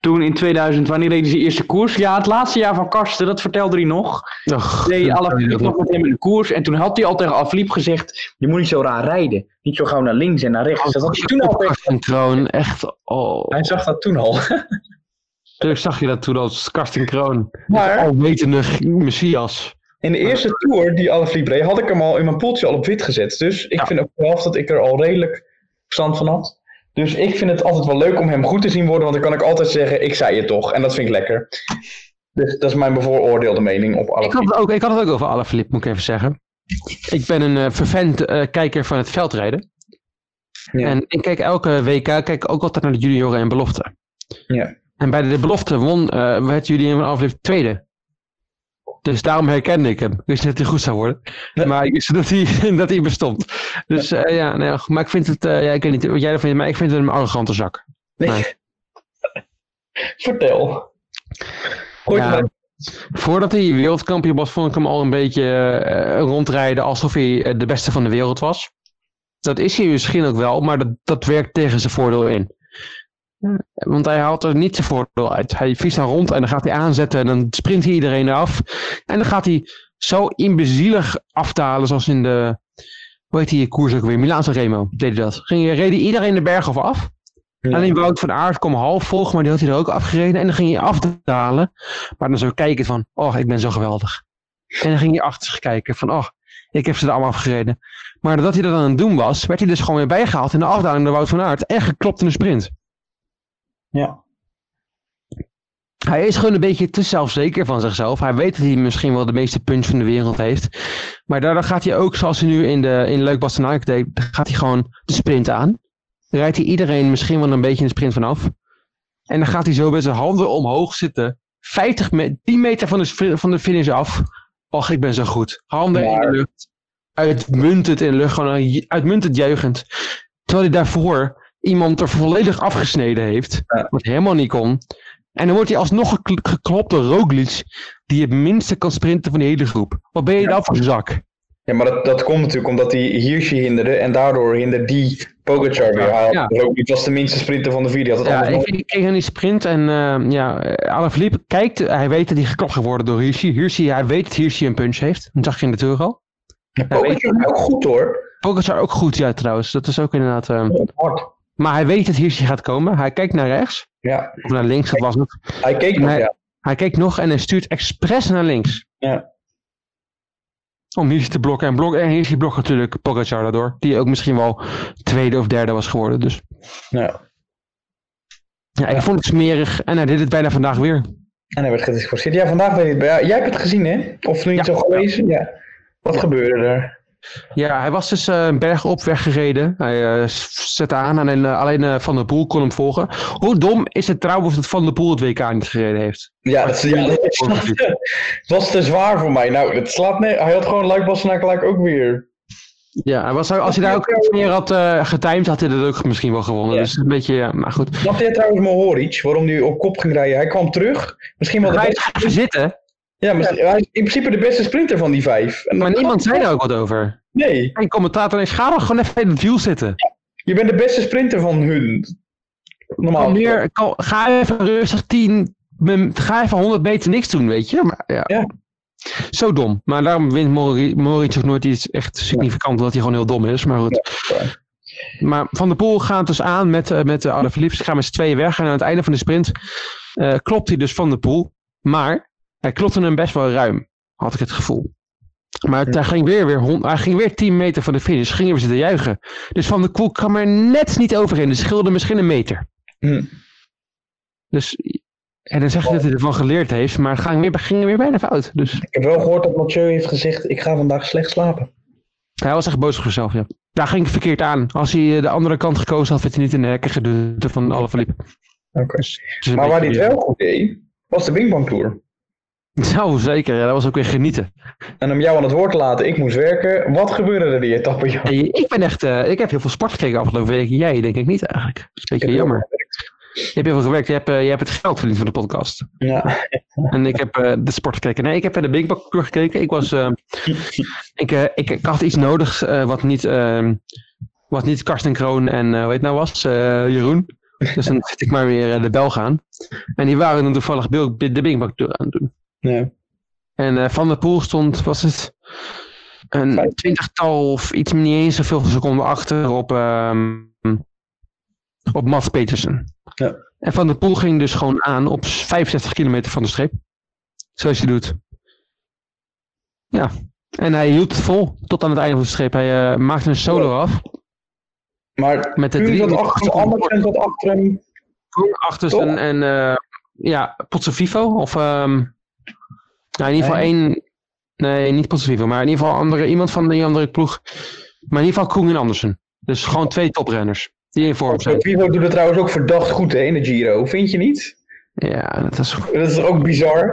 Toen in 2000, wanneer deden ze de eerste koers? Ja, het laatste jaar van Karsten, dat vertelde hij nog.
Och,
Nee,
dat-
Alaphilippe nog met hem in de koers. En toen had hij al tegen Alaphilippe gezegd... Je moet niet zo raar rijden. Niet zo gauw naar links en naar rechts. Dat had hij
nou
toen al tegen-
Karsten Kroon, echt. Oh.
Hij zag dat toen al.
Natuurlijk zag je dat toen als Karsten Kroon.
Maar
Alwetende messias.
In de eerste tour die Alaphilippe reed, had ik hem al in mijn poeltje al op wit gezet. Dus ik
Ja.
vind ook zelf dat ik er al redelijk verstand van had. Dus ik vind het altijd wel leuk om hem goed te zien worden, want dan kan ik altijd zeggen, ik zei het toch. En dat vind ik lekker. Dus dat is mijn bevooroordeelde mening op
Ik had,
Alaphilippe.
het ook, ik had het ook over Alaphilippe, moet ik even zeggen. Ik ben een eh vervent eh, kijker van het veldrijden.
Ja.
En ik kijk elke WK kijk ik ook altijd naar de junioren en belofte.
Ja.
En bij de belofte won, eh werd jullie in Alaphilippe tweede. Dus daarom herkende ik hem. Ik wist niet dat hij goed zou worden.
Ja.
Maar ik wist <laughs> dat hij, dat hij bestond. Dus eh, ja, nou ja, goed. maar ik vind het, eh, ja, ik weet niet wat jij ervan vindt, maar ik vind het een arrogante zak.
Nee. <laughs> Vertel. Gooi het
Ja.
maar-
Voordat hij wereldkampioen was, vond ik hem al een beetje eh, rondrijden alsof hij eh, de beste van de wereld was. Dat is hij misschien ook wel, maar dat, dat werkt tegen zijn voordeel in. Want hij haalt er niet zijn voordeel uit. Hij vies dan rond en dan gaat hij aanzetten en dan sprint hij iedereen eraf. En dan gaat hij zo imbezielig aftalen zoals in de, hoe heet die koers ook weer, Milaanse Remo deed hij dat. Ging, reed hij iedereen de berg over af.
Ja.
Alleen Wout van Aert kwam half volgen, maar die had hij er ook afgereden. En dan ging hij afdalen. Maar dan zo kijken van, oh, ik ben zo geweldig. En dan ging hij achter zich kijken van, oh, ik heb ze er allemaal afgereden. Maar doordat hij dat aan het doen was, werd hij dus gewoon weer bijgehaald in de afdaling door Wout van Aert. En geklopt in de sprint.
Ja.
Hij is gewoon een beetje te zelfzeker van zichzelf. Hij weet dat hij misschien wel de meeste punch van de wereld heeft. Maar daardoor gaat hij ook, zoals hij nu in, de, in Leuk Bastenaak deed, gaat hij gewoon de sprint aan. Dan rijdt hij iedereen misschien wel een beetje in de sprint vanaf. En dan gaat hij zo met zijn handen omhoog zitten. 50 me 10 meter van de, spri- van de finish af. Och, ik ben zo goed. Handen in de
Maar-
lucht. Uitmuntend in de lucht. Gewoon een ju- uitmuntend juichend. Terwijl hij daarvoor iemand er volledig afgesneden heeft.
Ja.
Wat helemaal niet kon. En dan wordt hij alsnog gekl- geklopt door Roglic. Die het minste kan sprinten van de hele groep. Wat ben je
Ja.
nou voor zak?
Ja, maar dat, dat komt natuurlijk omdat die Hirschi hinderde en daardoor hinderde die Pogacar weer. Hij had-
Ja.
dus ook- Dit was de minste sprinter van de vier. Die had het
Ja,
anders
ik,
nog-
ik keek aan die sprint en eh ja, Alaphilippe kijkt, hij weet dat hij geklopt gaat worden door Hirschi. Hirschi, hij weet dat Hirschi een punch heeft. Dat zag je in de tour al.
Pogacar is ook goed hoor.
Pogacar ook goed, ja trouwens. Dat is ook inderdaad... eh,
Hard.
maar hij weet dat Hirschi gaat komen. Hij kijkt naar rechts.
Ja,
Of naar links, dat was het.
hij keek nog,
Nee.
ja.
Hij kijkt nog en hij stuurt expres naar links.
Ja.
Om Hirschi te blokken. En, blok, en Hirschi blokt natuurlijk Pogacar daardoor. Die ook misschien wel tweede of derde was geworden. Dus
ja.
ja, ik vond het smerig. En hij deed het bijna vandaag weer.
En hij werd gediscussieerd. Ja, vandaag weet ik het. Ja, jij hebt het gezien, hè? Of nu niet
Ja.
zo gelezen? Ja. Wat gebeurde er?
Ja, hij was dus eh, een berg op weggereden. Hij eh, s- zette aan en eh, alleen eh, Van der Poel kon hem volgen. Hoe dom is het trouwens dat Van der Poel het WK niet gereden heeft?
Ja, dat, ja, dat <laughs> is- het was te zwaar voor mij. Nou, dat slaat neer. Hij had gewoon Luik Bassenaar gelijk ook weer.
Ja, hij was, als hij daar ook iets meer had eh getimed, had hij dat ook misschien wel gewonnen.
Ja.
Dus een beetje, ja, maar goed.
Snap jij trouwens Mohoric, waarom hij op kop ging rijden? Hij kwam terug. Misschien wel de
Hij
beste,
is gaan zitten,
ja, maar hij is in principe de beste sprinter van die vijf. En
maar
dat-
niemand zei daar ook wat over.
Nee,
En commentator heeft, ga dan gewoon even in het wiel zitten.
je bent de beste sprinter van hun. Normaal.
Meer, kan- ga even rustig 10, mem- ga even 100 meter niks doen, weet je. Maar, ja.
Ja.
Zo dom. Maar daarom wint Mori- Moritz ook nooit iets echt significant, omdat hij gewoon heel dom is. Maar goed. Maar Van der Poel gaat dus aan met, eh, met de Arne Philips. Ze gaan met z'n tweeën weg. En aan het einde van de sprint eh, klopt hij dus Van der Poel. Maar hij klopte hem best wel ruim, had ik het gevoel. Maar het- hij, ging weer, weer, hon- hij ging weer 10 meter van de finish. Gingen we zitten juichen. Dus Van der Poel kwam er net niet overheen. Dus scheelde misschien een meter.
Hm.
Dus, en dan zegt hij dat hij ervan geleerd heeft, maar het ging weer, ging weer bijna fout. Dus
Ik heb wel gehoord dat Mathieu heeft gezegd, ik ga vandaag slecht slapen.
hij was echt boos op zichzelf, ja. Daar ging ik verkeerd aan. Als hij eh, de andere kant gekozen had, werd hij niet in de hekken geduwd van alle verliep.
Oké.
Dus
Maar waar hij het wel goed deed, was de Bing Tour.
<laughs> Nou, zeker. Ja, dat was ook weer genieten.
En om jou aan het woord te laten, ik moest werken. Wat gebeurde er die etappe? joh?
Hey, ik ben echt... eh, ik heb heel veel sport gekeken afgelopen week. Jij denk ik niet eigenlijk. Dat is een
Ik heb
beetje jammer. Je hebt heel veel gewerkt. Je hebt, eh, je hebt het geld verdiend van de podcast.
Ja.
<laughs> En ik heb eh, de sport gekeken. Nee, ik heb naar de Big Bang Tour gekeken. Ik was... eh, ik, eh, ik, ik had iets nodig eh, wat niet... ehm, wat niet Karsten Kroon en eh hoe heet nou was? eh, Jeroen. Dus dan zit ik maar weer eh, de bel gaan. En die waren dan toevallig Bil- de Big Bang Tour aan het doen.
Ja.
En eh, Van der Poel stond, was het... Een
Vijf.
twintigtal of iets niet eens zoveel seconden achter op, ehm, op Mats Petersen.
Ja.
En Van der Poel ging dus gewoon aan op 65 kilometer van de streep. Zoals je doet. Ja. En hij hield het vol tot aan het einde van de streep. Hij eh, maakte een solo af.
Maar
Met de
Kuhn
drie
zat
minuten
achter hem,
achterstand.
Andersen zat achter hem.
Koen, Achtersen
Toch?
en eh, ja, Potsevivo. Of ehm, nou, in ieder geval
Nee.
één. Nee, niet Potsevivo, maar in ieder geval andere, iemand van die andere ploeg. Maar in ieder geval Koen en Andersen. Dus gewoon twee toprenners die in vorm zijn.
Vivo doet het trouwens ook verdacht goed hè, in de Giro, vind je niet?
Ja, dat is,
Dat is ook bizar.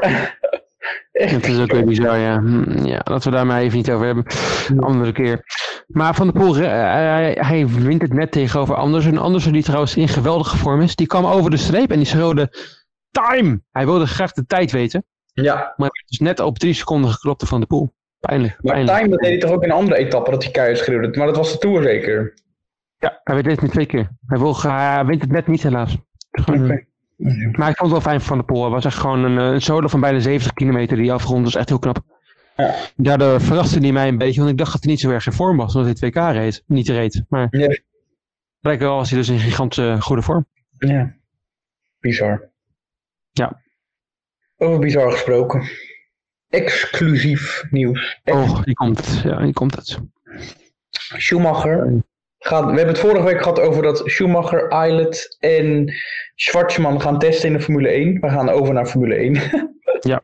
dat is ook weer bizar. Ja. Hm, ja, laten we daar maar even niet over hebben. Een andere keer. Maar Van der Poel, eh, hij, hij wint het net tegenover Andersen. Andersen die trouwens in geweldige vorm is. Die kwam over de streep en die schreeuwde time. Hij wilde graag de tijd weten.
Ja,
Maar het is net op drie seconden geklopt van de poel. Pijnlijk.
maar
pijnlijk.
Time dat deed hij toch ook in een andere etappe, dat hij keihard schreeuwde. Maar dat was de Tour zeker.
Ja, hij weet het met twee keer. Hij, wil, gra- hij wint het net niet helaas. Gewoon-
Oké.
Maar ik vond het wel fijn van de poel. Het was echt gewoon een, eh, een solo van bijna 70 kilometer die hij afgerond. was echt heel knap.
Ja.
Daardoor verraste hij mij een beetje, want ik dacht dat hij niet zo erg in vorm was. Omdat hij 2K reed, niet reed. Maar
Nee.
blijkbaar was hij dus in gigantische goede vorm.
Ja. Bizar.
Ja.
Over bizar gesproken. Exclusief nieuws.
Oh, die komt. Ja, die komt het.
Schumacher. Gaat, we hebben het vorige week gehad over dat Schumacher, Eilert en Schwartzman gaan testen in de Formule 1. We gaan over naar Formule <laughs> 1.
Ja.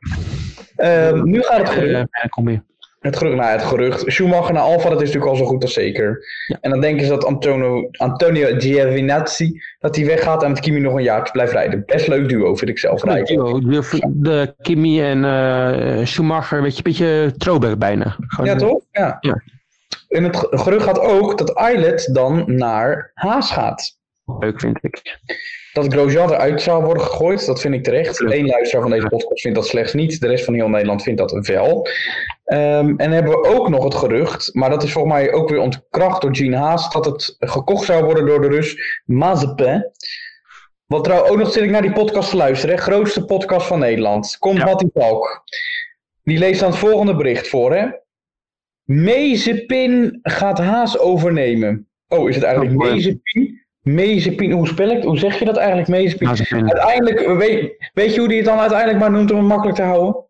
Ehm, nu gaat het
Eh,
gebeuren.
ja, kom weer.
Het gerucht, nou, ja, het gerucht. Schumacher naar Alfa, dat is natuurlijk al zo goed als zeker.
Ja.
En dan denken ze dat Antonio, Antonio Giovinazzi, dat hij weggaat en dat Kimi nog een jaar blijft rijden. Best leuk duo, vind ik zelf.
De,
rijden.
duo, de, de Kimi en eh, Schumacher, weet je, een beetje throwback bijna. Gewoon- eh,
Ja, toch? Ja.
Ja.
En het ge- gerucht gaat ook dat Eilert dan naar Haas gaat.
Leuk vind ik.
Dat Grosjean eruit zou worden gegooid, dat vind ik terecht.
Klopt.
Eén luisteraar van deze podcast vindt dat slechts niet. De rest van heel Nederland vindt dat wel. Eh, Ehm, en hebben we ook nog het gerucht, maar dat is volgens mij ook weer ontkracht door Gene Haas, dat het gekocht zou worden door de Rus Mazepin. Wat trouwens ook nog zit ik naar die podcast te luisteren, hè? grootste podcast van Nederland. Komt
Ja.
Mattie Valk. Die leest dan het volgende bericht voor, hè? Mazepin gaat Haas overnemen. Oh, is het eigenlijk
Oh, boy.
Mazepin? Mazepin, hoe spel ik? Hoe zeg je dat eigenlijk? Mazepin.
Nou, ze vinden-
Uiteindelijk, weet, weet je hoe die het dan uiteindelijk maar noemt om het makkelijk te houden?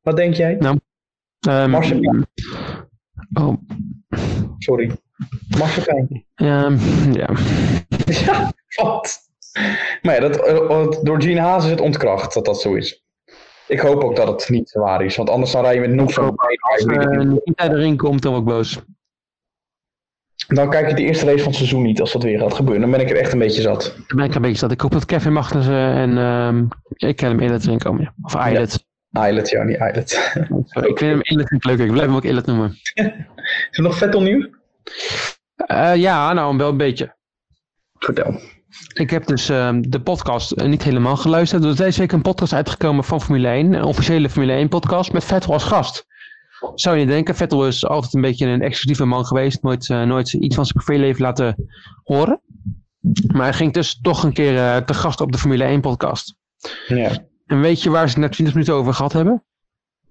Wat denk jij?
Ehm,
Marsepein.
oh,
Sorry. Marsepein.
ehm, ja.
<laughs> ja, wat? Maar ja, dat, eh, wat- door Gene Haas is het ontkracht dat dat zo is. Ik hoop ook dat het niet waar is, want anders dan rij je met nog
Ik
zo'n...
hoop Als eh, Nikita erin komt, dan word ik boos.
Dan kijk ik de eerste race van het seizoen niet als dat weer gaat gebeuren. Dan ben ik er echt een beetje zat.
Dan ben ik een beetje zat. Ik hoop dat Kevin Magnussen en ehm ik ken hem Elet erin komen. ja. Of Eilert.
Islet, ja, niet Islet.
Sorry, Ik vind hem Elet niet leuk. Ik blijf hem ook Elet noemen.
<laughs> Is er nog vet opnieuw?
Eh, ja, nou wel een beetje.
Vertel.
Ik heb dus ehm, de podcast eh, niet helemaal geluisterd. Er is deze week een podcast uitgekomen van Formule 1. Een officiële Formule 1 podcast met Vettel als gast. Zou je niet denken, Vettel is altijd een beetje een exclusieve man geweest. Nooit, eh, nooit iets van zijn privéleven laten horen. Maar hij ging dus toch een keer eh, te gast op de Formule 1 podcast.
Ja,
En weet je waar ze het net 20 minuten over gehad hebben?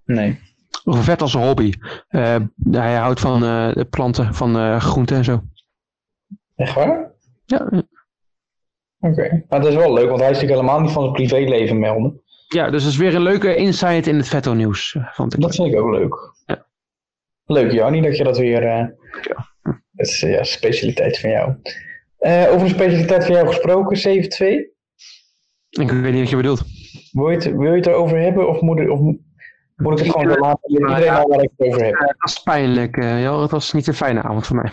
nee.
Over vet als een hobby. Eh, hij houdt van eh, de planten, van eh, groenten en zo.
Echt waar?
Ja, eh.
Oké. Maar dat is wel leuk, want hij is natuurlijk helemaal niet van zijn privéleven melden.
ja, dus dat is weer een leuke insight in het Vettel nieuws, eh, vond ik.
Dat vind ik ook leuk.
Ja.
Leuk, Jannie, dat je dat weer. eh
Hm.
Dat is eh, ja, specialiteit van jou. Eh, over een specialiteit van jou gesproken, 7-2.
Ik weet niet wat je bedoelt.
Wil je, het, wil je het erover hebben of moet, of mo- moet ik het gewoon wel laten? Weet Iedereen al waar ik het over heb.
Het was pijnlijk, eh joh. Het was niet een fijne avond voor mij.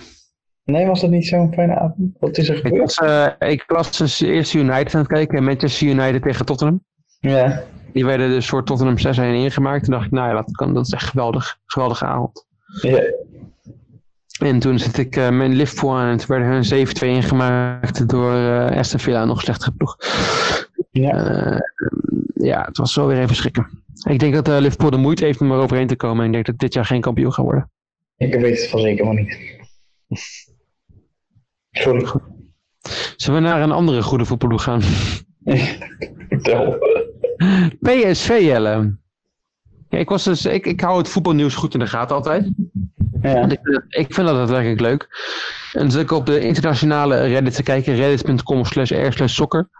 Nee, was dat niet zo'n fijne avond? Wat is er
Ik was,
gebeurd?
eh, ik was dus eerst United aan het kijken. Manchester United tegen Tottenham.
Ja.
Die werden dus voor Tottenham 6-1 ingemaakt. Toen dacht ik, nou ja, dat, kan, dat is echt geweldig. Geweldige avond.
ja.
En toen zit ik eh, mijn Liverpool aan en toen werden hun 7-2 ingemaakt door eh Aston Villa, nog slechter ploeg.
ja.
Eh, ja, het was zo weer even schrikken. Ik denk dat eh, Liverpool de moeite heeft om eroverheen te komen. En ik denk dat dit jaar geen kampioen gaat worden.
Ik weet het van zeker van niet. Sorry,
<laughs> Zullen we naar een andere goede voetbalploeg gaan?
vertel.
PSV, Jelle. Ja, ik, was dus, ik, ik hou het voetbalnieuws goed in de gaten altijd.
Ja.
Want ik, vind dat- ik vind dat daadwerkelijk leuk. En dan zit ik op de internationale Reddit te kijken. Reddit.com slash r slash soccer.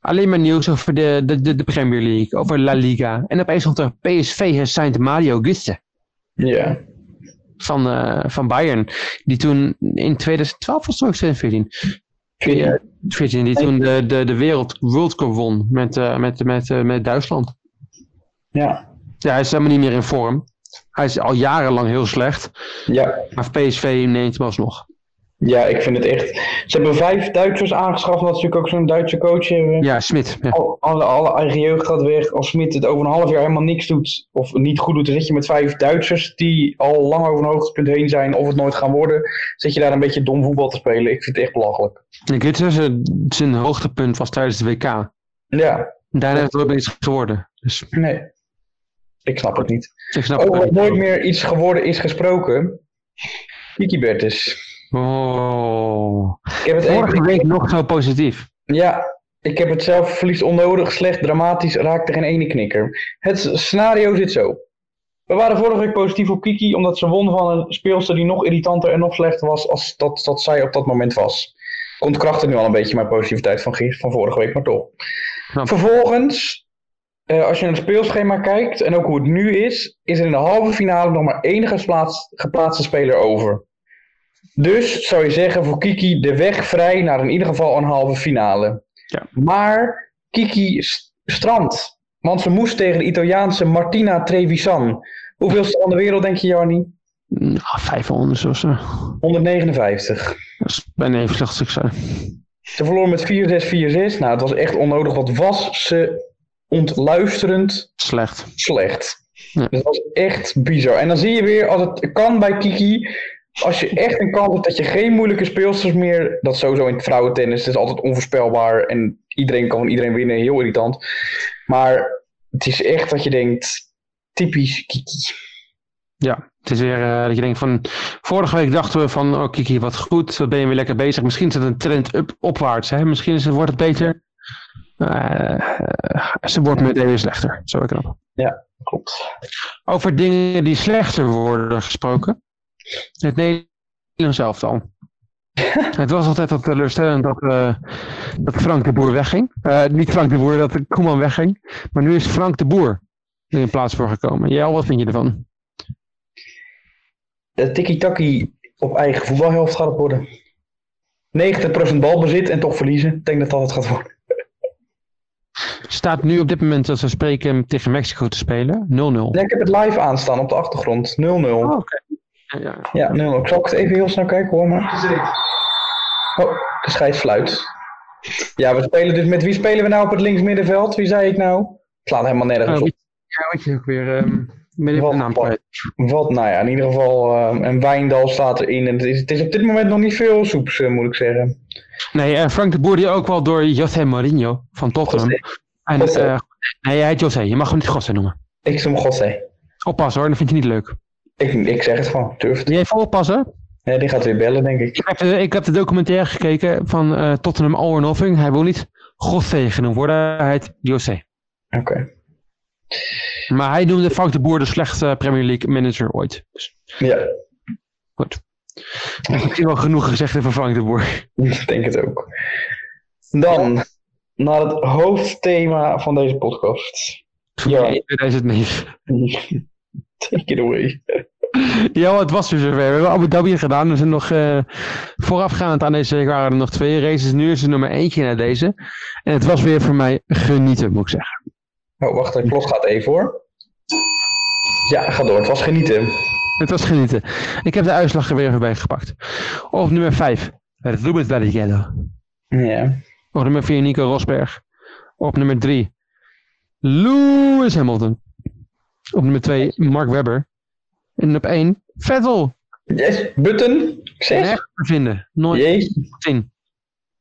Alleen maar nieuws over de, de, de, de Premier League. Over La Liga. En opeens stond er PSV has signed Mario Götze.
ja.
van, eh, van Bayern. Die toen in 2012 was het ook 2014. Ja, 14, die toen de, de, de wereld World Cup won met, eh, met, met, eh, met Duitsland.
Ja.
Ja, hij is helemaal niet meer in vorm. Hij is al jarenlang heel slecht.
Ja.
Maar PSV neemt hem alsnog.
Ja, ik vind het echt. Ze hebben vijf Duitsers aangeschaft, omdat ze natuurlijk ook zo'n Duitse coach hebben.
Ja, Smit. Ja.
Al- Alle, alle eigen jeugd gaat weg. Als Smit het over een half jaar helemaal niks doet, of niet goed doet, dan zit je met vijf Duitsers die al lang over een hoogtepunt heen zijn, of het nooit gaan worden. Zit je daar een beetje dom voetbal te spelen. Ik vind het echt belachelijk.
En Gutsen, zijn- zijn hoogtepunt was tijdens de WK.
Ja,
Daarna is het ook niks geworden. Dus
nee. Ik snap het niet.
ik snap
Over
het
wat
niet.
nooit meer iets geworden is gesproken. Kiki Bertens.
Oh.
Ik heb het echt-
Vorige week nog zo positief.
Ja, ik heb het zelf verlies onnodig, slecht, dramatisch, raakte geen ene knikker. Het scenario zit zo. We waren vorige week positief op Kiki omdat ze won van een speelster die nog irritanter en nog slechter was als dat, dat zij op dat moment was. Komt krachten nu al een beetje mijn positiviteit van, gis- van vorige week, maar toch.
Knap.
Vervolgens, eh, als je naar het speelschema kijkt en ook hoe het nu is, is er in de halve finale nog maar één gesplaatst- geplaatste speler over. Dus zou je zeggen voor Kiki de weg vrij naar in ieder geval een halve finale.
Ja.
Maar Kiki st- strandt. Want ze moest tegen de Italiaanse Martina Trevisan. Hoeveelste van de wereld denk je, Jarni?
Nou, 500 of zo.
159.
Dat is bijna even slecht succes.
Ze verloor met 4-6-4-6. Nou, het was echt onnodig. Wat was ze ontluisterend
Slecht.
slecht. Dus
Ja.
Dat was echt bizar. En dan zie je weer, als het kan bij Kiki, als je echt een kans hebt dat je geen moeilijke speelsters meer, dat is sowieso in het vrouwentennis, het is altijd onvoorspelbaar en iedereen kan van iedereen winnen, heel irritant. Maar het is echt dat je denkt, typisch Kiki.
Het is weer eh, dat je denkt van... Vorige week dachten we van, oh Kiki, wat goed. Wat ben je weer lekker bezig. Misschien is het een trend up, opwaarts. Hè? Misschien is het, wordt het beter. Eh, ze wordt meteen weer slechter. Zo ik knap.
Klopt.
Over dingen die slechter worden gesproken. Het Nederlands elftal. het was altijd dat teleurstellend dat, eh, dat Frank de Boer wegging. Eh, niet Frank de Boer, dat Koeman wegging. Maar nu is Frank de Boer er in plaats voor gekomen. Jel, wat vind je ervan?
Dat tiki-taki op eigen voetbalhelft gaat het worden. 90% balbezit en toch verliezen. Ik denk dat dat het gaat worden.
Staat nu op dit moment dat ze spreken tegen Mexico te spelen. 0-0.
Nee, ik heb het live aanstaan op de achtergrond. 0-0.
Oh, oké. Ja,
Ja, 0-0. Ik zal ook het even heel snel kijken hoor. Maar... Oh, de scheids fluit. Ja, we spelen dus met wie spelen we nou op het linksmiddenveld? Wie zei ik nou? Het slaat helemaal nergens
Eh,
op.
wat Oh, je ook weer... ehm met even de naam kwijt.
Wat, nou ja, in ieder geval, ehm een Wijndal staat erin. En het, is, het is op dit moment nog niet veel soeps, eh, moet ik zeggen.
Nee, eh, Frank de Boer die ook wel door José Mourinho van Tottenham. En,
José.
eh, nee, hij heet José. Je mag hem niet José noemen.
Ik noem Gosse.
Oppassen hoor, dat vind je niet leuk.
Ik, ik zeg het gewoon, durf het.
Moet je even oppassen.
Ja, die gaat weer bellen, denk ik.
Ik heb, eh, ik heb de documentaire gekeken van eh, Tottenham All or Nothing. Hij wil niet José genoemd worden, hij heet José.
Oké.
Maar hij noemde Frank de Boer de slechtste eh, Premier League manager ooit. Dus
Ja,
goed. Ik heb wel genoeg gezegd over Frank de Boer.
ik denk het ook. Dan, naar het hoofdthema van deze podcast. <laughs> Ja.
In 2009.
Take it away.
Ja, het was weer zover. We hebben Abu Dhabi gedaan. Er zijn nog eh, voorafgaand aan deze week waren er nog twee races. Nu is er nummer eentje naar deze. En het was weer voor mij genieten, moet ik zeggen.
Oh, wacht, de klok gaat even hoor. Ja, ga door. Het was genieten.
Het was genieten. Ik heb de uitslag er weer even bij gepakt. Op nummer 5, Rubens Barrichello.
Ja.
Op nummer 4, Nico Rosberg. Op nummer 3, Lewis Hamilton. Op nummer 2, Mark Webber. En op 1, Vettel.
Yes, button. Zes.
Echt te vinden. Nooit
Jee.
gezien.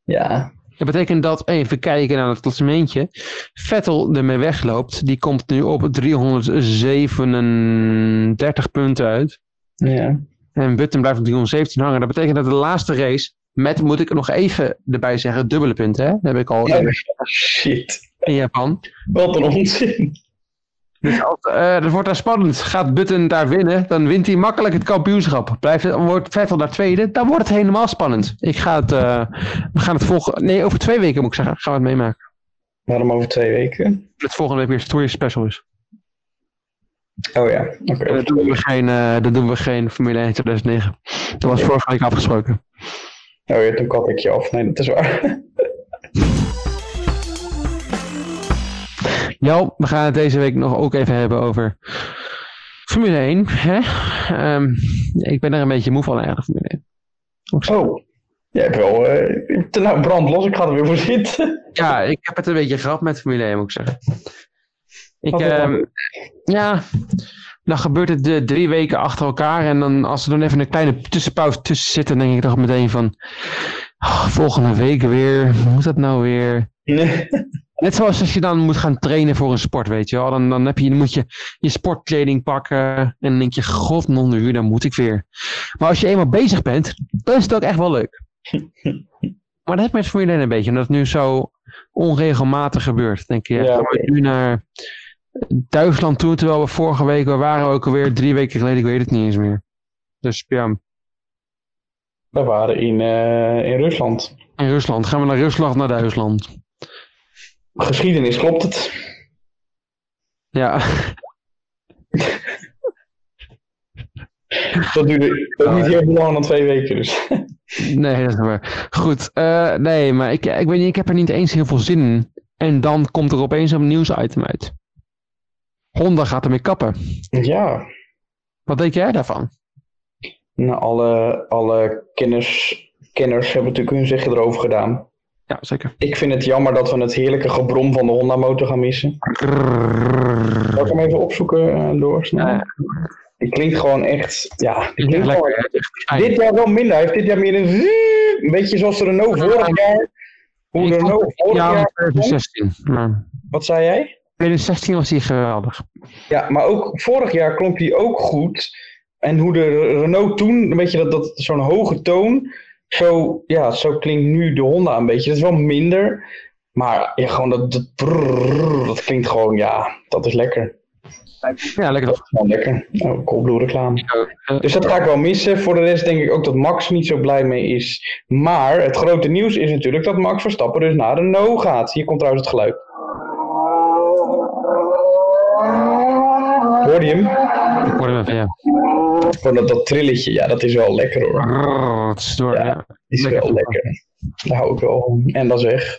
Ja.
Dat betekent dat, even kijken naar het klassementje, Vettel ermee wegloopt. Die komt nu op 337 punten uit.
Ja.
En Button blijft op 317 hangen. Dat betekent dat de laatste race, met, moet ik nog even erbij zeggen, dubbele punten. Hè? Dat heb ik al
Ja.
eerder
Shit.
in Japan.
Wat een onzin.
Dus als, eh, dat wordt daar spannend. Gaat Button daar winnen, dan wint hij makkelijk het kampioenschap. Blijft, het- wordt Vettel daar tweede, dan wordt het helemaal spannend. Ik ga het, eh, we gaan het volgen. Nee, over twee weken moet ik zeggen, gaan we het meemaken.
Waarom over twee weken?
Dat volgende week weer Story Special is.
Oh ja, oké.
En dat doen we geen, eh, dat doen we geen Formule 1 2009. Dat was vorige week afgesproken.
Oh ja, toen kat ik je af. Nee, dat is waar.
Ja, we gaan het deze week nog ook even hebben over Formule 1. Hè? Ehm, ik ben er een beetje moe van eigenlijk, Formule 1.
Oh. <laughs> Jij hebt wel... eh, te- nou, brand los. Ik ga er weer voor zitten.
Ja, ik heb het een beetje gehad met Formule 1, moet ik zeggen. Ik,
Wat is dat?
ehm, ja, dan gebeurt het eh, drie weken achter elkaar. En dan, als er dan even een kleine tussenpauze tussen zit, dan denk ik toch meteen van... "Ah, volgende week weer, hoe moet dat nou weer?
Nee.
Net zoals als je dan moet gaan trainen voor een sport, weet je wel. Dan, dan, heb je, dan moet je je sportkleding pakken. En dan denk je, god, non uur, dan moet ik weer. Maar als je eenmaal bezig bent, dan is het ook echt wel
<laughs>
leuk. maar dat heeft met Formule 1 een beetje. Omdat het nu zo onregelmatig gebeurt. Denk je,
Ja,
ja, gaan
oké.
we nu naar Duitsland toe. Terwijl we vorige week, we waren ook alweer drie weken geleden. Ik weet het niet eens meer. Dus ja,
We waren in, eh, in Rusland.
in Rusland. Gaan we naar Rusland, naar Duitsland.
Geschiedenis, klopt het?
Ja,
Dat duurde ook niet heel lang dan twee weken dus. <laughs>
Nee, dat is niet waar. Goed, eh, nee, maar ik, ik weet niet, ik heb er niet eens heel veel zin in. En dan komt er opeens een nieuwsitem uit. Honda gaat ermee kappen.
Ja.
Wat denk jij daarvan?
Nou, alle, alle kenners, kenners hebben natuurlijk hun zegje erover gedaan.
Ja, zeker.
Ik vind het jammer dat we het heerlijke gebrom van de Honda motor gaan missen. Zal ik hem even opzoeken eh, door? snel?
Ja.
Die klinkt gewoon echt... Ja, die
Ja,
klinkt gewoon...
lekker, fijn.
Dit jaar wel minder. Hij heeft dit jaar meer een... zzzz, Een beetje zoals de Renault vorig jaar. Hoe de
Ik vond
Renault
het
vorig
Ja,
jaar...
2016. Maar
Wat zei jij?
2016 was hij geweldig.
Ja, maar ook vorig jaar klonk hij ook goed. En hoe de Renault toen, een beetje dat, dat zo'n hoge toon. Zo, ja, zo klinkt nu de Honda een beetje. Dat is wel minder. Maar ja, gewoon dat, dat, brrrr, dat klinkt gewoon, ja, dat is lekker.
Ja, lekker
Dat
toch?
is gewoon lekker. Oh, Coolblue reclame.
Eh,
Dus dat ga ik wel missen. Voor de rest denk ik ook dat Max niet zo blij mee is. Maar het grote nieuws is natuurlijk dat Max Verstappen dus naar de no gaat. Hier komt trouwens het geluid. Hoor je hem?
Ik hoorde hem even, ja.
Gewoon dat, dat trilletje, ja, dat is wel lekker hoor. Dat
Brrr, het is door,
Ja.
ja.
is
Lekker.
wel lekker. Daar hou ik wel van. En dat is echt.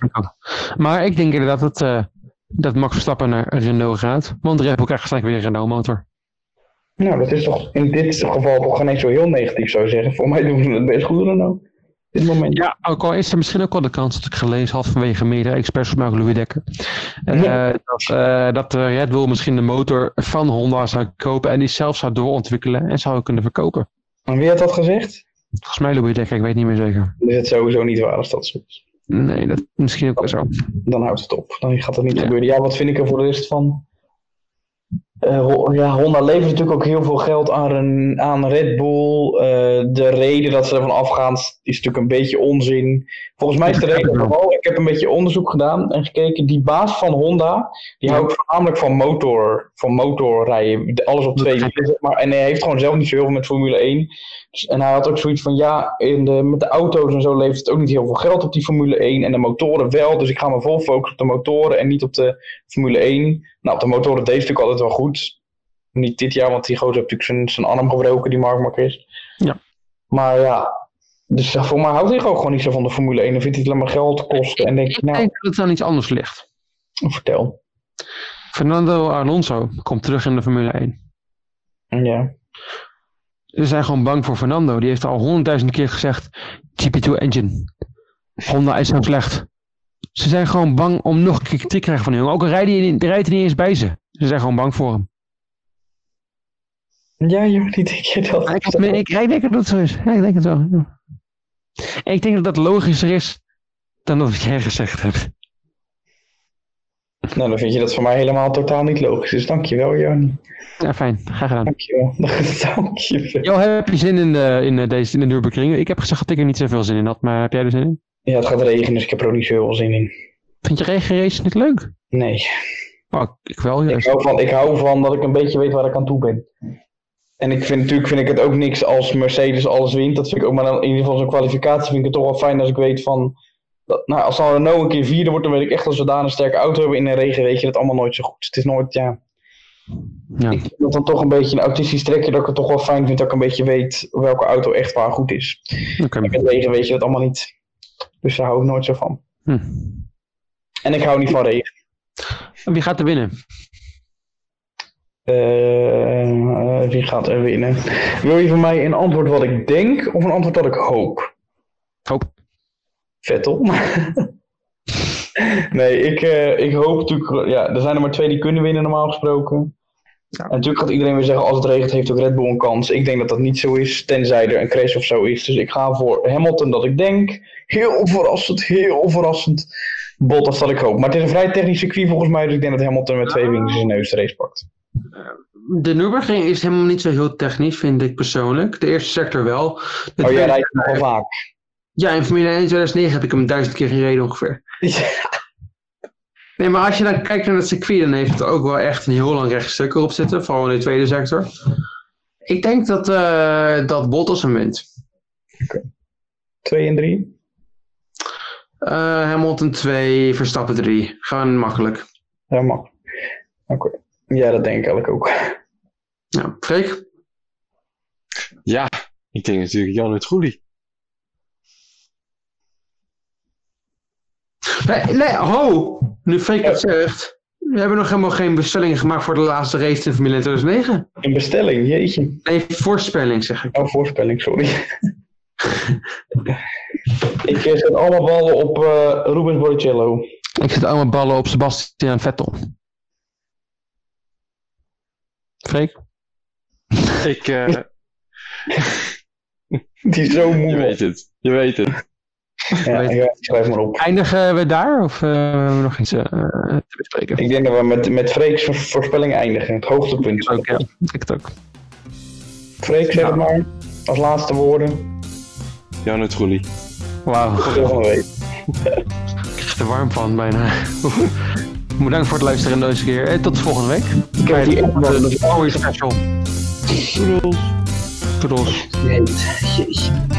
Maar ik denk inderdaad dat, eh, dat Max Verstappen naar Renault gaat. Want Red Bull krijgt gelijk weer een Renault motor.
Nou, dat is toch in dit geval toch geen eens zo heel negatief zou ik zeggen. Voor mij doen ze het best goed Renault. Op dit moment.
Ja, ook al is er misschien ook wel de kans dat ik gelezen had vanwege meerdere experts, volgens mij ook Louis Dekker, eh,
Ja.
dat, eh, dat eh, Red Bull misschien de motor van Honda zou kopen en die zelf zou doorontwikkelen en zou kunnen verkopen.
En wie had dat gezegd?
Volgens mij Louis Dekker, ik weet niet meer zeker.
Dan is het sowieso niet waar als dat zo is.
Nee, dat misschien ook wel zo.
Dan houdt het op. Dan gaat dat niet
Ja.
gebeuren. Ja, wat vind ik er voor de rest van? Eh, Ho- ja, Honda levert natuurlijk ook heel veel geld aan, Ren- aan Red Bull. Eh, de reden dat ze ervan afgaan is natuurlijk een beetje onzin. Volgens mij is de
Dat begrijp
reden
ik wel.
vooral, ik heb een beetje onderzoek gedaan en gekeken, die baas van Honda, die
Ja.
houdt voornamelijk van motor, van motorrijden, de- alles op
Dat
twee
begrijp
wielen, zeg maar. En hij heeft gewoon zelf niet zo heel veel met Formule 1. Dus- En hij had ook zoiets van, ja, in de, met de auto's en zo levert het ook niet heel veel geld op die Formule 1 en de motoren wel, dus ik ga me vol focussen op de motoren en niet op de Formule 1. Nou, op de motoren deed het natuurlijk altijd wel goed. Niet dit jaar, want die gozer heeft natuurlijk zijn, zijn arm gebroken, die Mark Marquez.
Ja.
Maar ja, dus voor mij houdt hij ook gewoon niet zo van de Formule 1. Dan vindt hij het alleen maar geld kosten en denkt,
Ik
nou,
denk dat het aan iets anders ligt.
vertel.
Fernando Alonso komt terug in de Formule 1.
Ja.
Ze zijn gewoon bang voor Fernando. Die heeft al honderdduizend keer gezegd: GP2 engine. Honda is zo slecht. Ze zijn gewoon bang om nog kritiek te krijgen van die jongen. Ook al rijdt hij niet- rijdt hij niet eens bij ze. Ze zijn gewoon bang voor hem.
Ja, joh, die denk je dat.
Maar Ik, had me- ik, ik denk dat het zo is. Ja, ik denk het wel. ja. En ik denk dat dat logischer is dan dat wat jij gezegd hebt.
Nou, dan vind je dat voor mij helemaal totaal niet logisch. Dus dankjewel, Jan.
Ja, fijn. Graag gedaan.
<laughs> Dankjewel. dankjewel.
Jo, heb je zin in de, in eh, deze, in de Nürburgring? Ik heb gezegd dat ik er niet zoveel zin in had, maar heb jij er zin in?
Ja, het gaat regenen, dus ik heb er ook niet zo heel veel zin in.
Vind je regenrace niet leuk?
Nee.
Oh, ik, ik wel
Ik
juist.
hou, van, ik hou van dat ik een beetje weet waar ik aan toe ben. En ik vind natuurlijk vind ik het ook niks als Mercedes alles wint. Dat vind ik ook maar dan, in ieder geval zo'n kwalificatie vind ik het toch wel fijn als ik weet van. Dat, nou, als dan Renault een keer vierde wordt, dan weet ik echt als we daar een sterke auto hebben in een regen, weet je dat allemaal nooit zo goed. Dus Het is nooit, ja.
Ja.
Ik vind dat dan toch een beetje een autistisch trekje, dat ik het toch wel fijn vind dat ik een beetje weet welke auto echt waar goed is.
Oké.
In het regen weet je dat allemaal niet. Dus daar hou ik nooit zo van.
Hm.
En ik hou niet van regen.
En Wie gaat er winnen?
Eh, eh, wie gaat er winnen? Wil je van mij een antwoord wat ik denk of een antwoord dat ik hoop?
Hoop.
Vettel. <laughs> nee, ik, eh, ik hoop natuurlijk. Ja, er zijn er maar twee die kunnen winnen, normaal gesproken. En natuurlijk gaat iedereen weer zeggen: als het regent, heeft ook Red Bull een kans. Ik denk dat dat niet zo is, tenzij er een crash of zo is. Dus ik ga voor Hamilton, dat ik denk. Heel verrassend, heel verrassend. Bottas, dat ik hoop. Maar het is een vrij technisch circuit volgens mij, dus ik denk dat Hamilton met twee wings in zijn neus de race pakt.
De Nürburgring is helemaal niet zo heel technisch, vind ik persoonlijk. De eerste sector wel.
Oh, jij rijdt hem al vaak. <laughs>
Ja, in Formule 1 2009 heb ik hem duizend keer gereden ongeveer. Nee, maar als je dan kijkt naar het circuit, dan heeft het ook wel echt een heel lang rechtstuk erop zitten. Vooral in de tweede sector. Ik denk dat, eh, dat Bottas hem wint.
Twee en drie.
Eh, Hamilton 2, Verstappen 3. Gewoon makkelijk.
Ja, man. Oké. Ja, dat denk ik eigenlijk ook. <laughs>
Ja, Nou, Freek?
Ja, ik denk natuurlijk Jan het Goelie.
Nee, nee, ho! Nu Freek het zegt, we hebben nog helemaal geen bestellingen gemaakt voor de laatste race in Formule 1 2009.
Een bestelling, jeetje.
Nee, voorspelling zeg ik.
Oh, voorspelling, sorry. <laughs> ik eh, zet alle ballen op eh, Rubens Barrichello.
Ik zet allemaal ballen op Sebastian Vettel. Freek?
Ik, eh,
Die is zo
je
moe.
weet het. Je weet het.
Ja,
Weet-
ja, schrijf maar op.
Eindigen we daar of eh, hebben we nog iets eh, te bespreken?
Ik denk dat we met, met Freek's vo- voorspelling eindigen. Het hoogtepunt.
Ook, ja. Ik het ook.
Freek, zeg het maar. Als laatste woorden.
Jan het Roelie.
Wauw,
Tot volgende week.
ik krijg er warm van bijna. Bedankt voor het luisteren deze keer. En tot volgende week. Bij
die app
de Always Special. Toedels. Toedels.
Jeetje, jeetje.